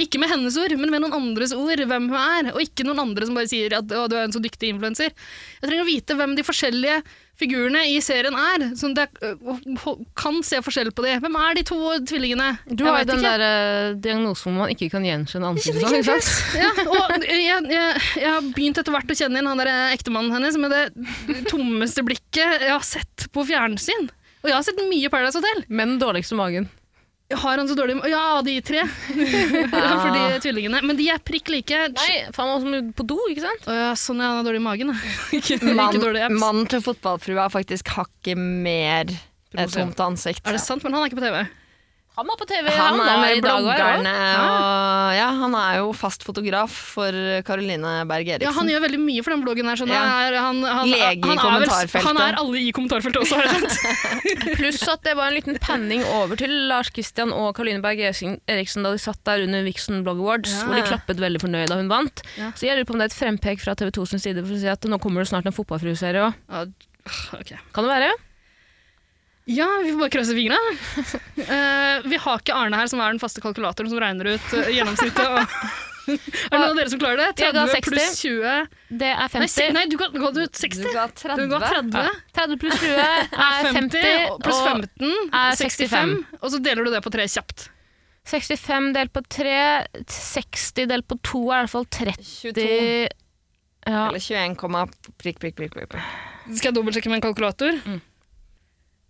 A: Ikke med hennes ord, men med noen andres ord, hvem hun er. Og ikke noen andre som bare sier at å, du er en så dyktig influenser. Jeg trenger å vite hvem de forskjellige figurene i serien er. Sånn at jeg øh, kan se forskjell på de. Hvem er de to tvillingene?
B: Du
A: Jeg
B: har jo
A: vet
B: den
A: ikke.
B: der eh, diagnosen hvor man ikke kan gjenkjenne ansiktet sånn, ikke sant?
A: Ja, og jeg, jeg, jeg har begynt etter hvert å kjenne inn han der ektemannen hennes med det tommeste blikket jeg har sett på fjernsyn. Og jeg har sett mye Paradise Hotel.
B: Men den dårligste magen.
A: Har han så dårlig Ja, de tre. For
C: Ah.
A: de tvillingene. Men de er prikk like.
B: Nei, faen, man må på do, ikke sant?
A: Å ja, sånn ja, han har dårlig i magen. da. Ikke,
C: Mann-
A: ikke dårlig apps.
C: Mannen til fotballfrua er faktisk hakket mer Et tomt ansikt.
A: Er det sant? Men han er ikke på TV.
B: Han var på TV,
C: Han er
B: var
C: med i
B: dag også, ja.
C: bloggerne og ja, han er jo fast fotograf for Caroline Berg Eriksen.
A: Ja, Han gjør veldig mye for den bloggen. her. Sånn.
C: Liksom. Ja.
A: Er, han, han,
C: Lege i
A: han er vel-
C: kommentarfeltet.
A: Han er alle i kommentarfeltet også, har jeg skjønt.
B: Pluss at det var en liten panning over til Lars Kristian og Karoline Berg Eriksen Eriksen da de satt der under Vixen Blog Awards,
A: Ja.
B: hvor de klappet veldig fornøyd da hun vant.
A: Ja.
B: Så jeg lurer på om det er et frempek fra TV 2 sin side for å si at nå kommer det snart en fotballfrueserie òg.
A: Ja, ok.
B: Kan det være?
A: Ja, vi får bare krysse fingra. Eh, vi har ikke Arne her, som er den faste kalkulatoren som regner ut eh, gjennomsnittet. Og er det noen av dere som klarer det?
B: Jeg ga
A: 30
B: 60.
A: pluss 20
B: Det er
A: Nei, se,
B: 50.
A: nei du ga, ga du 60?
C: Du ga
A: Du
C: 30.
A: ga 30.
B: 30 pluss 20 er 50,
A: 50 pluss
B: og
A: 15
B: er
A: 65. Og så deler du det på tre kjapt.
B: 65 delt på 3, 60 delt på 2 er i hvert fall 30
C: 22.
B: ja.
C: Eller 21, komma prikk, prikk, prikk. prikk. prikk.
A: Skal jeg dobbeltsjekke med en kalkulator?
B: Mm.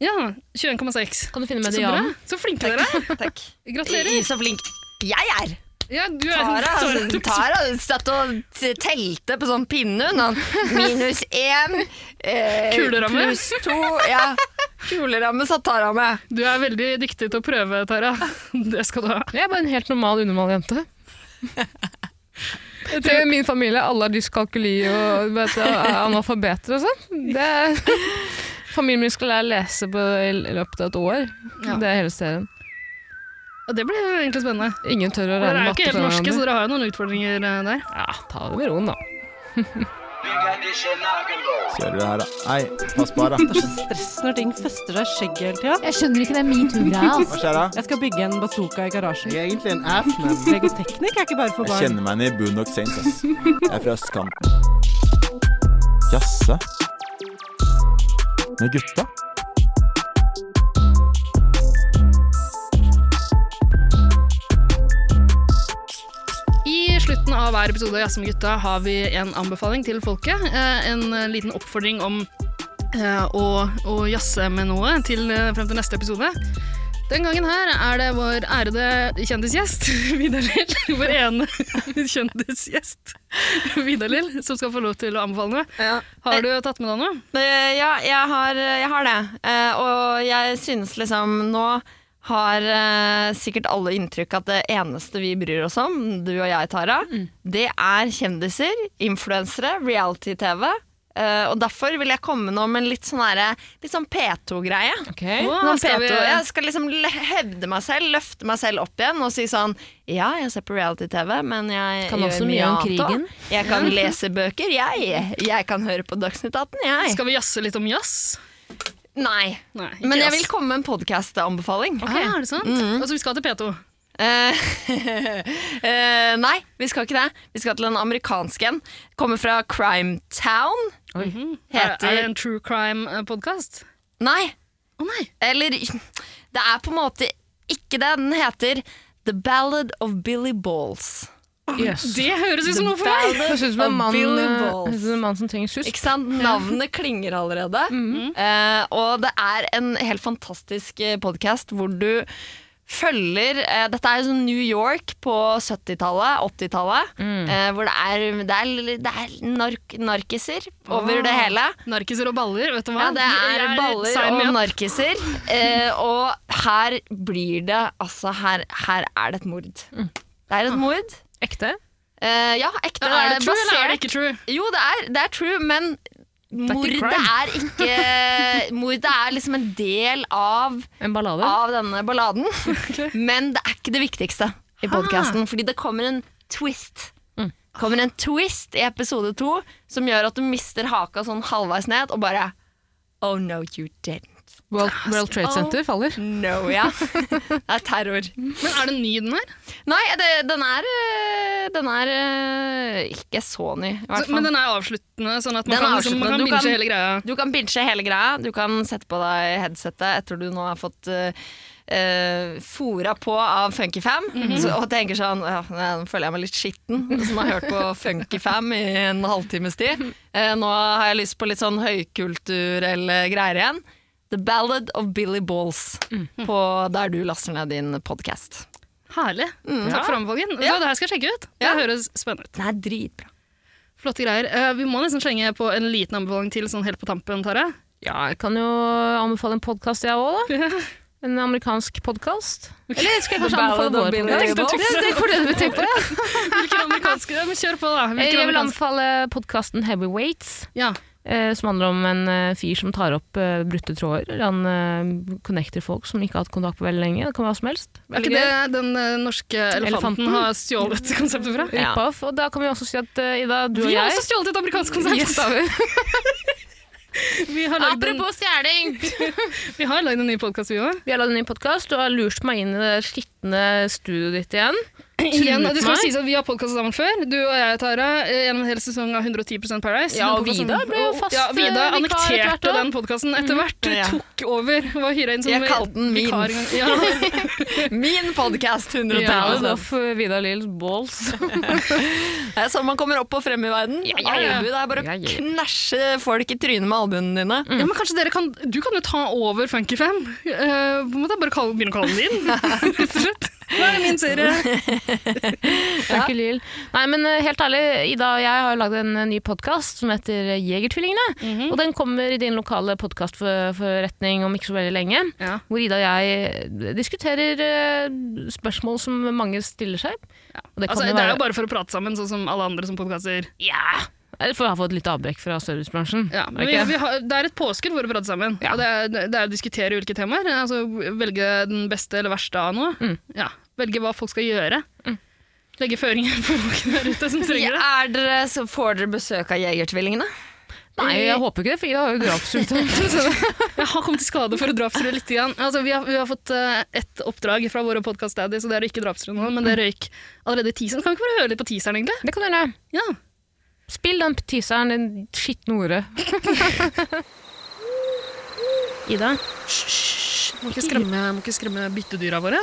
A: Ja, 21,6.
B: Kan du finne
A: Så bra.
B: medianen?
A: Så flinke dere er.
C: Takk.
A: Gratulerer.
C: I, så flink jeg er!
A: Ja, du er
B: altså,
C: Tara,
A: Tara, du-
C: Tara satt og t- telte på sånn pinne. hun, og Minus én. Eh,
A: Kuleramme.
C: Pluss to. Ja. Kuleramme satt Tara med.
A: Du er veldig dyktig til å prøve, Tara. Det skal du ha.
B: Jeg er bare en helt normal, unormal jente. Jeg tror min familie, alle har dyskalkuli og vet, du, er analfabeter og sånn. Det er- Familien min skal lære å lese på, i løpet av et år.
A: Ja.
B: Det er hele serien.
A: Og det blir jo egentlig spennende.
B: Ingen tør å
A: Dere
B: regne
A: er jo
B: matte
A: ikke helt
B: fra
A: norske, så
B: hverandre.
A: dere har jo noen utfordringer eh, der.
B: Ja, ta det med roen, da.
H: Kjører det her, da. Nei, pass på her, da.
I: stress når ting fester seg i skjegget hele tida.
J: Jeg skjønner ikke den metoo-greia.
H: Hva skjer da?
I: Jeg skal bygge en bazooka i garasjen.
H: Jeg er egentlig en ass, men
I: Legoteknikk er ikke bare for
H: Jeg
I: barn.
H: kjenner meg igjen i Boondock Saints, ass. Jeg er fra østkanten. Jasse. Med gutta?
A: I slutten av hver episode av Jazz med gutta har vi en anbefaling til folket. eh, En eh, liten oppfordring om eh, å, å jazze med noe til, eh, frem til neste episode. Den gangen her er det vår ærede kjendisgjest, Vidar Lill. Vår ene kjendisgjest, Vidar Lill, som skal få lov til å anbefale noe.
C: Ja.
A: Har du tatt med deg noe?
C: Eh, ja, jeg har, jeg har det. Eh, og jeg synes liksom nå har eh, sikkert alle inntrykk at det eneste vi bryr oss om, du og jeg, Tara, det er kjendiser, influensere, reality-TV. Eh, og derfor vil jeg komme nå med en litt sånn, herre- litt sånn P2-greie.
A: Å,
C: Nå
A: skal
C: P2,
A: vi-
C: Jeg skal liksom le- hevde meg selv, løfte meg selv opp igjen og si sånn Ja, jeg ser på reality-TV, men jeg
B: Kan
C: gjør
B: også mye om
C: annet
B: krigen.
C: også. Jeg kan lese bøker, jeg. Jeg kan høre på Dagsnytt 18, jeg.
A: Skal vi jazze litt om jazz?
C: Nei.
A: Nei, ikke
C: Men jeg
A: jazz.
C: vil Mm. komme med en podkast-anbefaling.
A: Ah, er det sant? Altså, vi skal til P2.
C: Eh, eh, nei, vi skal ikke det. Vi skal til en amerikansk en. Kommer fra Crime Town.
A: Er, er det
C: Heter
A: en true eh, crime-podkast?
C: Nei,
A: Å nei!
C: eller Det er på en måte ikke det. Den heter The Ballad of Billy Balls.
A: Det høres ut som noe for meg!
B: Jeg synes det er en mann,
C: Billy
B: eh,
C: Balls.
B: jeg synes det er en mann som trenger
C: Ikke
B: susk.
C: sant? Navnet klinger allerede.
B: Mhm.
C: Eh, og det er en helt fantastisk podkast hvor du følger eh, Dette er jo sånn New York på 70-tallet, 80-tallet.
B: Mm.
C: eh, hvor det er, det er, det er nark narkiser
B: Ah.
C: over det hele.
A: Narkiser og baller, vet du hva?
C: Ja, det er
A: Jeg-
C: baller
A: sign me
C: og
A: up.
C: narkiser. Eh, og her blir det Altså, her, her er det et mord. Det er et mord.
B: Ekte?
C: Eh, ja, ekte.
A: Ja, er det true,
C: basert-
A: eller er det ikke true?
C: jo, det er, det er true, men
B: er ikke
C: mordet
B: crime.
C: er ikke Mordet er liksom en del av,
B: En ballade?
C: av denne balladen. Men det er ikke det viktigste i podkasten, fordi det kommer en twist. kommer en twist i episode to som gjør at du mister haka sånn halvveis ned og bare Oh no, you didn't.
B: World, World Trade Center faller.
C: No, ja. Det er terror.
A: Men er det ny den her?
C: Nei, det, den er øh, Den er øh, ikke så ny, i hvert
A: Så,
C: fall.
A: men den er avsluttende, sånn at man
C: Den
A: kan,
C: er
A: liksom, man
C: avsluttende.
A: kan
C: Du kan-
A: binge hele greia.
C: Du kan binche hele greia. Du kan sette på deg headsetet etter du nå har fått uh, fora på av Funky Fam, så, og tenker sånn «Åh, nei, Nå føler jeg meg litt skitten, som har hørt på Funky Fam i en halvtimes tid. Eh, nå har jeg lyst på litt sånn høykulturelle greier igjen. The Ballad of Billy Balls, på der du laster ned din podkast.
A: Herlig. Takk for anbefalingen. Så det her skal jeg sjekke ut. Det
C: Mm. Ja.
A: høres spennende ut.
C: Den er dritbra.
A: Flotte greier. Eh, vi må nesten slenge på en liten anbefaling til sånn helt på tampen, Tara.
B: Ja, jeg kan jo anbefale en podkast, jeg òg, da. En amerikansk podkast. Eller skal jeg kanskje anbefale vår podkast? Tenk på det du tenker på, ja.
A: Hvilken amerikansk ja, men Kjør på, da. Hvilken
B: Jeg vil
A: amerikansk-
B: anbefale podkasten Heavyweights.
A: Ja.
B: eh, som handler om en eh, fyr som tar opp eh, brutte tråder. Han eh, connecter folk som ikke har hatt kontakt på veldig lenge. Det kan være hva som helst.
A: Er ikke det den eh, norske elefanten,
B: Elefanten.
A: har stjålet konseptet fra?
B: Ja. Rip-off. Og da kan vi også si at eh, Ida, du og
A: Vi har
B: jeg
A: også stjålet et amerikansk konsept!
B: Yes, da vi.
A: Vi har lagd en,
B: Apropos stjeling!
A: vi har lagd en ny podkast, vi òg.
B: Vi har lagd en ny podkast. Du har lurt meg inn i det skitne studioet ditt igjen.
A: Igjen, det skal
B: meg.
A: sies at Vi har podkastet sammen før. Du og jeg, Tara, eh, gjennom en hel sesong av 110 Paradise.
B: Ja,
A: Den
B: og
A: podcasten-
B: Vida ble jo fast,
A: Ja, Vida
B: eh, vikar etter hvert
A: annekterte
B: også. Mhm.
A: den podkasten etter hvert.
C: Ja.
A: Tok over. Var hyra inn som
C: Jeg kalte den min.
A: vikar en gang. Ja.
C: Min podkast 110
A: Ja, altså.
B: Ballad of eh, Vidar Lills Balls.
C: altså. Det er sånn man kommer opp og frem i verden.
B: ja, ja.
C: Albu, det er bare å
B: Ja, ja.
C: knæsje folk i trynet med albuene dine.
A: Ja, men kanskje dere kan, Du kan jo ta over Funky Fem. Uh, på en måte bare kalle, begynne å kalle den din, rett og slett. Nå er det min serie.
B: Takk, Lill. Nei, men eh, helt ærlig, Ida og jeg har lagd en eh, ny podkast som heter eh, Jegertvillingene.
A: Mhm.
B: Og den kommer i din lokale podkastforretning om ikke så veldig lenge.
A: Ja.
B: Hvor Ida og jeg diskuterer eh, spørsmål som mange stiller seg. Og det kan
A: Altså,
B: jo
A: det er
B: være
A: jo bare for å prate sammen, sånn som alle andre som podkaster.
B: Ja! Eller For å ha fått litt avbrekk fra servicebransjen.
A: Ja,
B: Er det
A: men vi,
B: ikke?
A: vi har, det er et påskudd for å prate sammen. Og det er, det er å diskutere ulike temaer. Altså, velge den beste eller verste av noe.
B: Mm.
A: Ja, velge hva folk skal gjøre. Legge føringer for folk der ute som trenger det.
C: Er dere, så får dere besøk av Jegertvillingene?
B: Nei, jeg håper ikke det, for Ida har jo drapssykdom.
A: Jeg har kommet til skade for å drapstrue litt. Igjen. Altså, vi, har, vi har fått eh, ett oppdrag fra våre podkast-daddies, og det er å ikke drapstrue noen, men det
B: Mm.
A: røyk allerede i teaseren. Kan vi ikke bare høre litt på teaseren, egentlig?
B: det kan du gjøre.
A: Ja.
B: Spill den teaseren, den skitne ordet. Ida,
A: Må ikke skremme, må ikke skremme byttedyra våre.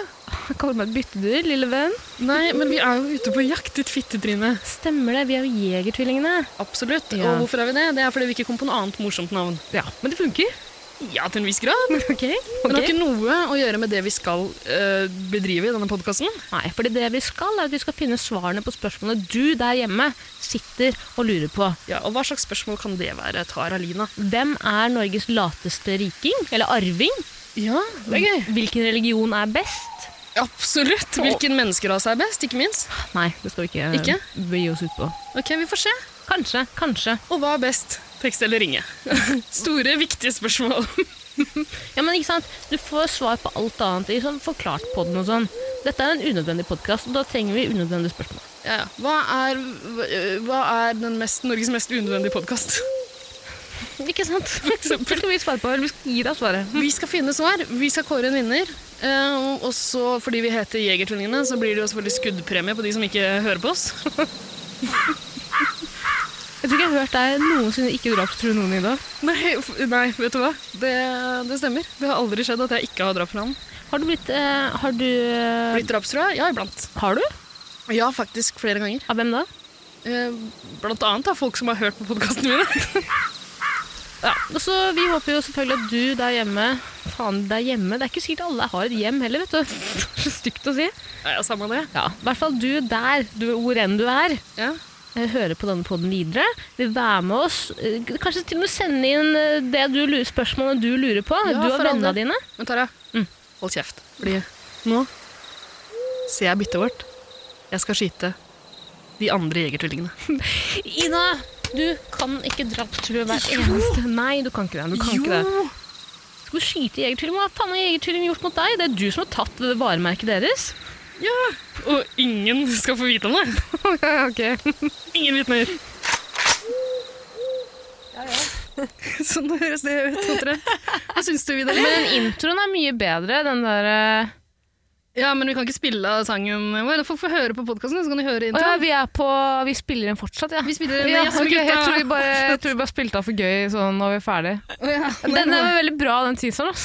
B: jeg kaller meg et byttedyr, lille venn.
A: Nei, men vi er jo ute på jakt, ditt fittetryne.
B: Stemmer det, vi er jo Jegertvillingene.
A: Absolutt.
B: Ja.
A: Og hvorfor er vi det? Det er fordi vi ikke kom på noe annet morsomt navn.
B: Ja, men det funker.
A: Ja, til en viss grad.
B: Ok.
A: Men det har ikke noe å gjøre med det vi skal eh, bedrive i denne podkasten.
B: Nei, for det vi skal, er at vi skal finne svarene på spørsmålene du der hjemme sitter og lurer på.
A: Ja, og hva slags spørsmål kan det være, Tara Lina?
B: Hvem er Norges lateste riking, eller arving?
A: Ja, det er gøy.
B: Hvilken religion er best?
A: Absolutt. Hvilken menneskerase er best, ikke minst?
B: Nei, det skal vi ikke,
A: Ikke?
B: begi oss ut på.
A: Ok, vi får se.
B: Kanskje, kanskje.
A: Og hva er best? Tekst eller ringe? Store, viktige spørsmål.
B: Ja, men ikke sant? Du får svar på alt annet i sånn forklart podden og sånn. Dette er en unødvendig podkast, og da trenger vi unødvendige spørsmål.
A: Ja, ja. Hva er, hva er den mest, Norges mest unødvendige podkast?
B: Ikke sant? Det skal vi svare på, eller vi skal gi deg svaret.
A: Vi skal finne svar. Vi skal kåre en vinner. Eh, og- og så, fordi vi heter Jegertvillingene, så blir det jo selvfølgelig skuddpremie på de som ikke hører på oss.
B: Jeg tror ikke jeg har hørt deg noensinne ikke drapstrue noen i dag.
A: Nei, f- nei vet du hva? Det, det stemmer. Det har aldri skjedd at jeg ikke har drapsplanen.
B: Har du blitt eh, Har du eh,
A: Blitt drapstrua? Ja, iblant.
B: Har du?
A: Ja, faktisk flere ganger.
B: Av hvem da?
A: Eh, blant annet av folk som har hørt på podkastene mine.
B: Ja, og så Vi håper jo selvfølgelig at du der hjemme Faen, der hjemme. Det er ikke sikkert alle har et hjem heller, vet du. Så stygt å si.
A: Ja, ja, samme det.
B: Ja, I hvert fall du der, du, hvor enn du er.
A: Ja.
B: eh, høre på denne podden videre. Vil være med oss. eh, Kanskje til og med sende inn eh, det du lurer, spørsmålene du lurer på.
A: Ja,
B: du
A: for
B: og
A: all
B: vennene
A: del.
B: dine.
A: Men Tara, mm, hold kjeft. Fordi nå ser jeg byttet vårt. Jeg skal skyte de andre jegertvillingene.
B: Ina, du kan ikke drapstrue hver eneste Nei, du kan ikke det. Du kan ikke det. Skal du skyte jegertvilling? Hva faen har jegertvilling gjort mot deg? Det er du som har tatt det varemerket deres.
A: Og ingen skal få vite om det. Ingen vitner. sånn høres det ut, omtrent. Hva syns du, Vidar?
B: Men introen er mye bedre. Den der eh,
A: Ja, men vi kan ikke spille av sangen vår. Folk får høre på podkasten, så kan de høre
B: Å ja,
A: introen.
B: vi er på Vi spiller den fortsatt, ja.
A: Vi spiller
B: Ja,
A: Jazz med
B: ok, jeg, tror vi
A: gutta.
B: bare, jeg tror vi bare spilte av for gøy sånn når vi er ferdig.
A: Å ja.
B: Den, den var veldig bra, den teaseren.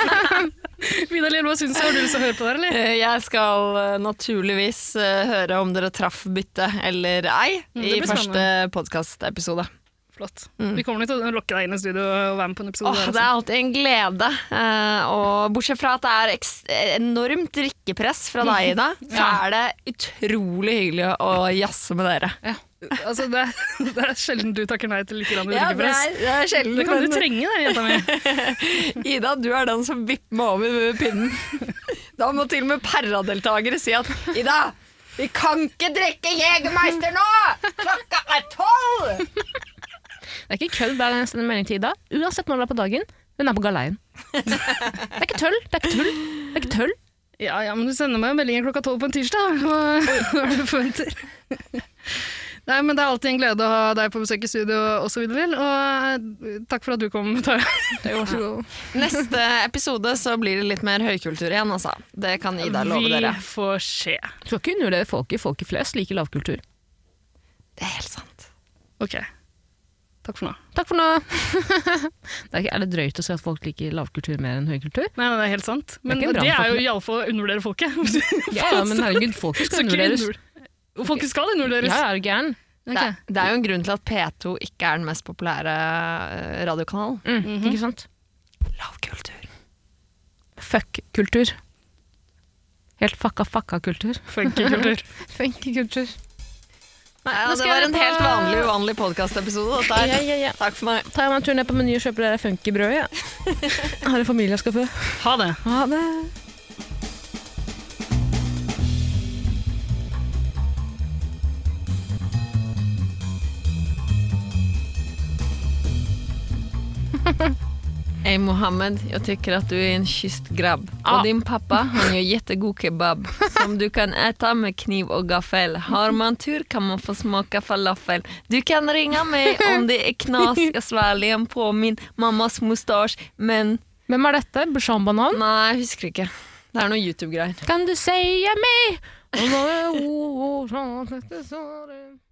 B: Altså.
A: Vidar Lill, hva syns du? Har du lyst til å høre på det, eller?
C: Jeg skal eh, naturligvis
B: Mm,
C: eh, høre om dere traff byttet eller ei i
A: blir
C: første podkastepisode.
A: Flott. Vi kommer nok til å lokke deg inn i studio og være med på en episode.
C: Åh,
A: der, altså.
C: det er alltid en glede. Eh, og bortsett fra at det er eks- enormt drikkepress fra deg, Ida, så
B: Ja.
C: er det utrolig hyggelig å jazze med dere.
A: Altså, det, er- det er sjelden du takker nei til litt grann drikkepress.
C: det er sjelden.
A: Det kan du trenge, det, jenta mi.
C: Ida, du er den som vipper meg over pinnen. Da må til og med paradeltakere si at Ida, vi kan ikke drikke Jegermeister nå! Klokka er tolv!
B: Det er ikke kødd hver gang jeg sender melding til Ida. Uansett når det er på dagen, hun er på galeien. Det er ikke tøll. Det er ikke tull. Det er ikke tøll.
A: Ja, ja, men du sender meg meldingen klokka tolv på en tirsdag. Hva hva er det du forventer? Nei, men Det er alltid en glede å ha deg på besøk i studio osv. Og eh, takk for at du kom, Tara. Vær så god.
C: Neste episode så blir det litt mer høykultur igjen, altså. Det kan Ida love dere.
A: Vi får se.
B: Skal ikke undervurdere folket. Folket flest liker lavkultur.
C: Det er helt sant.
A: Ok. Takk for nå.
B: Takk for nå! det er, ikke, er det drøyt å si at folk liker lavkultur mer enn høykultur?
A: Nei, nei, det er helt sant. Men det
B: Det er ikke
A: er,
B: bra
A: det
B: med
A: er jo
B: folk.
A: iallfall å undervurdere folket. Folk
B: Ja, ja, men herregud, folket skal
A: skal ikke
B: undervurderes.
A: undervurderes. Folket skal undervurderes.
B: Ja, er du gæren?
A: Ok.
C: Det, det er jo en grunn til at P2 ikke er den mest populære eh, radiokanalen.
B: Mm, Ikke sant?
C: Lavkultur.
B: Fuck-kultur. Helt fucka fucka-kultur.
A: Funky-kultur.
B: Funky-kultur. Nei,
C: Ja,
B: nå
C: det
B: skal jeg
C: var
B: ned
C: en
B: på-
C: helt vanlig uvanlig podkastepisode, dette her.
B: Ja, ja, ja.
C: Takk for meg.
B: Tar jeg meg en tur ned på Meny og kjøper det der funky-brødet, jeg. Har en familie jeg skal fø.
A: Ha det.
B: Ha det.
C: Hej Mohammed, jag tycker att du är en kysst grabb. Och din pappa, han gör jättegod kebab som du kan äta med kniv och gaffel. Har man tur kan man få smaka falafel. Du kan ringa mig om det är knas. Jag sväljer på min mammas mustasch, men
B: Hvem er dette? Burshan Banan?
C: nej, jag husker inte. Det här är någon YouTube-grej.
B: sånn Kan du si meg? Og nå er hun-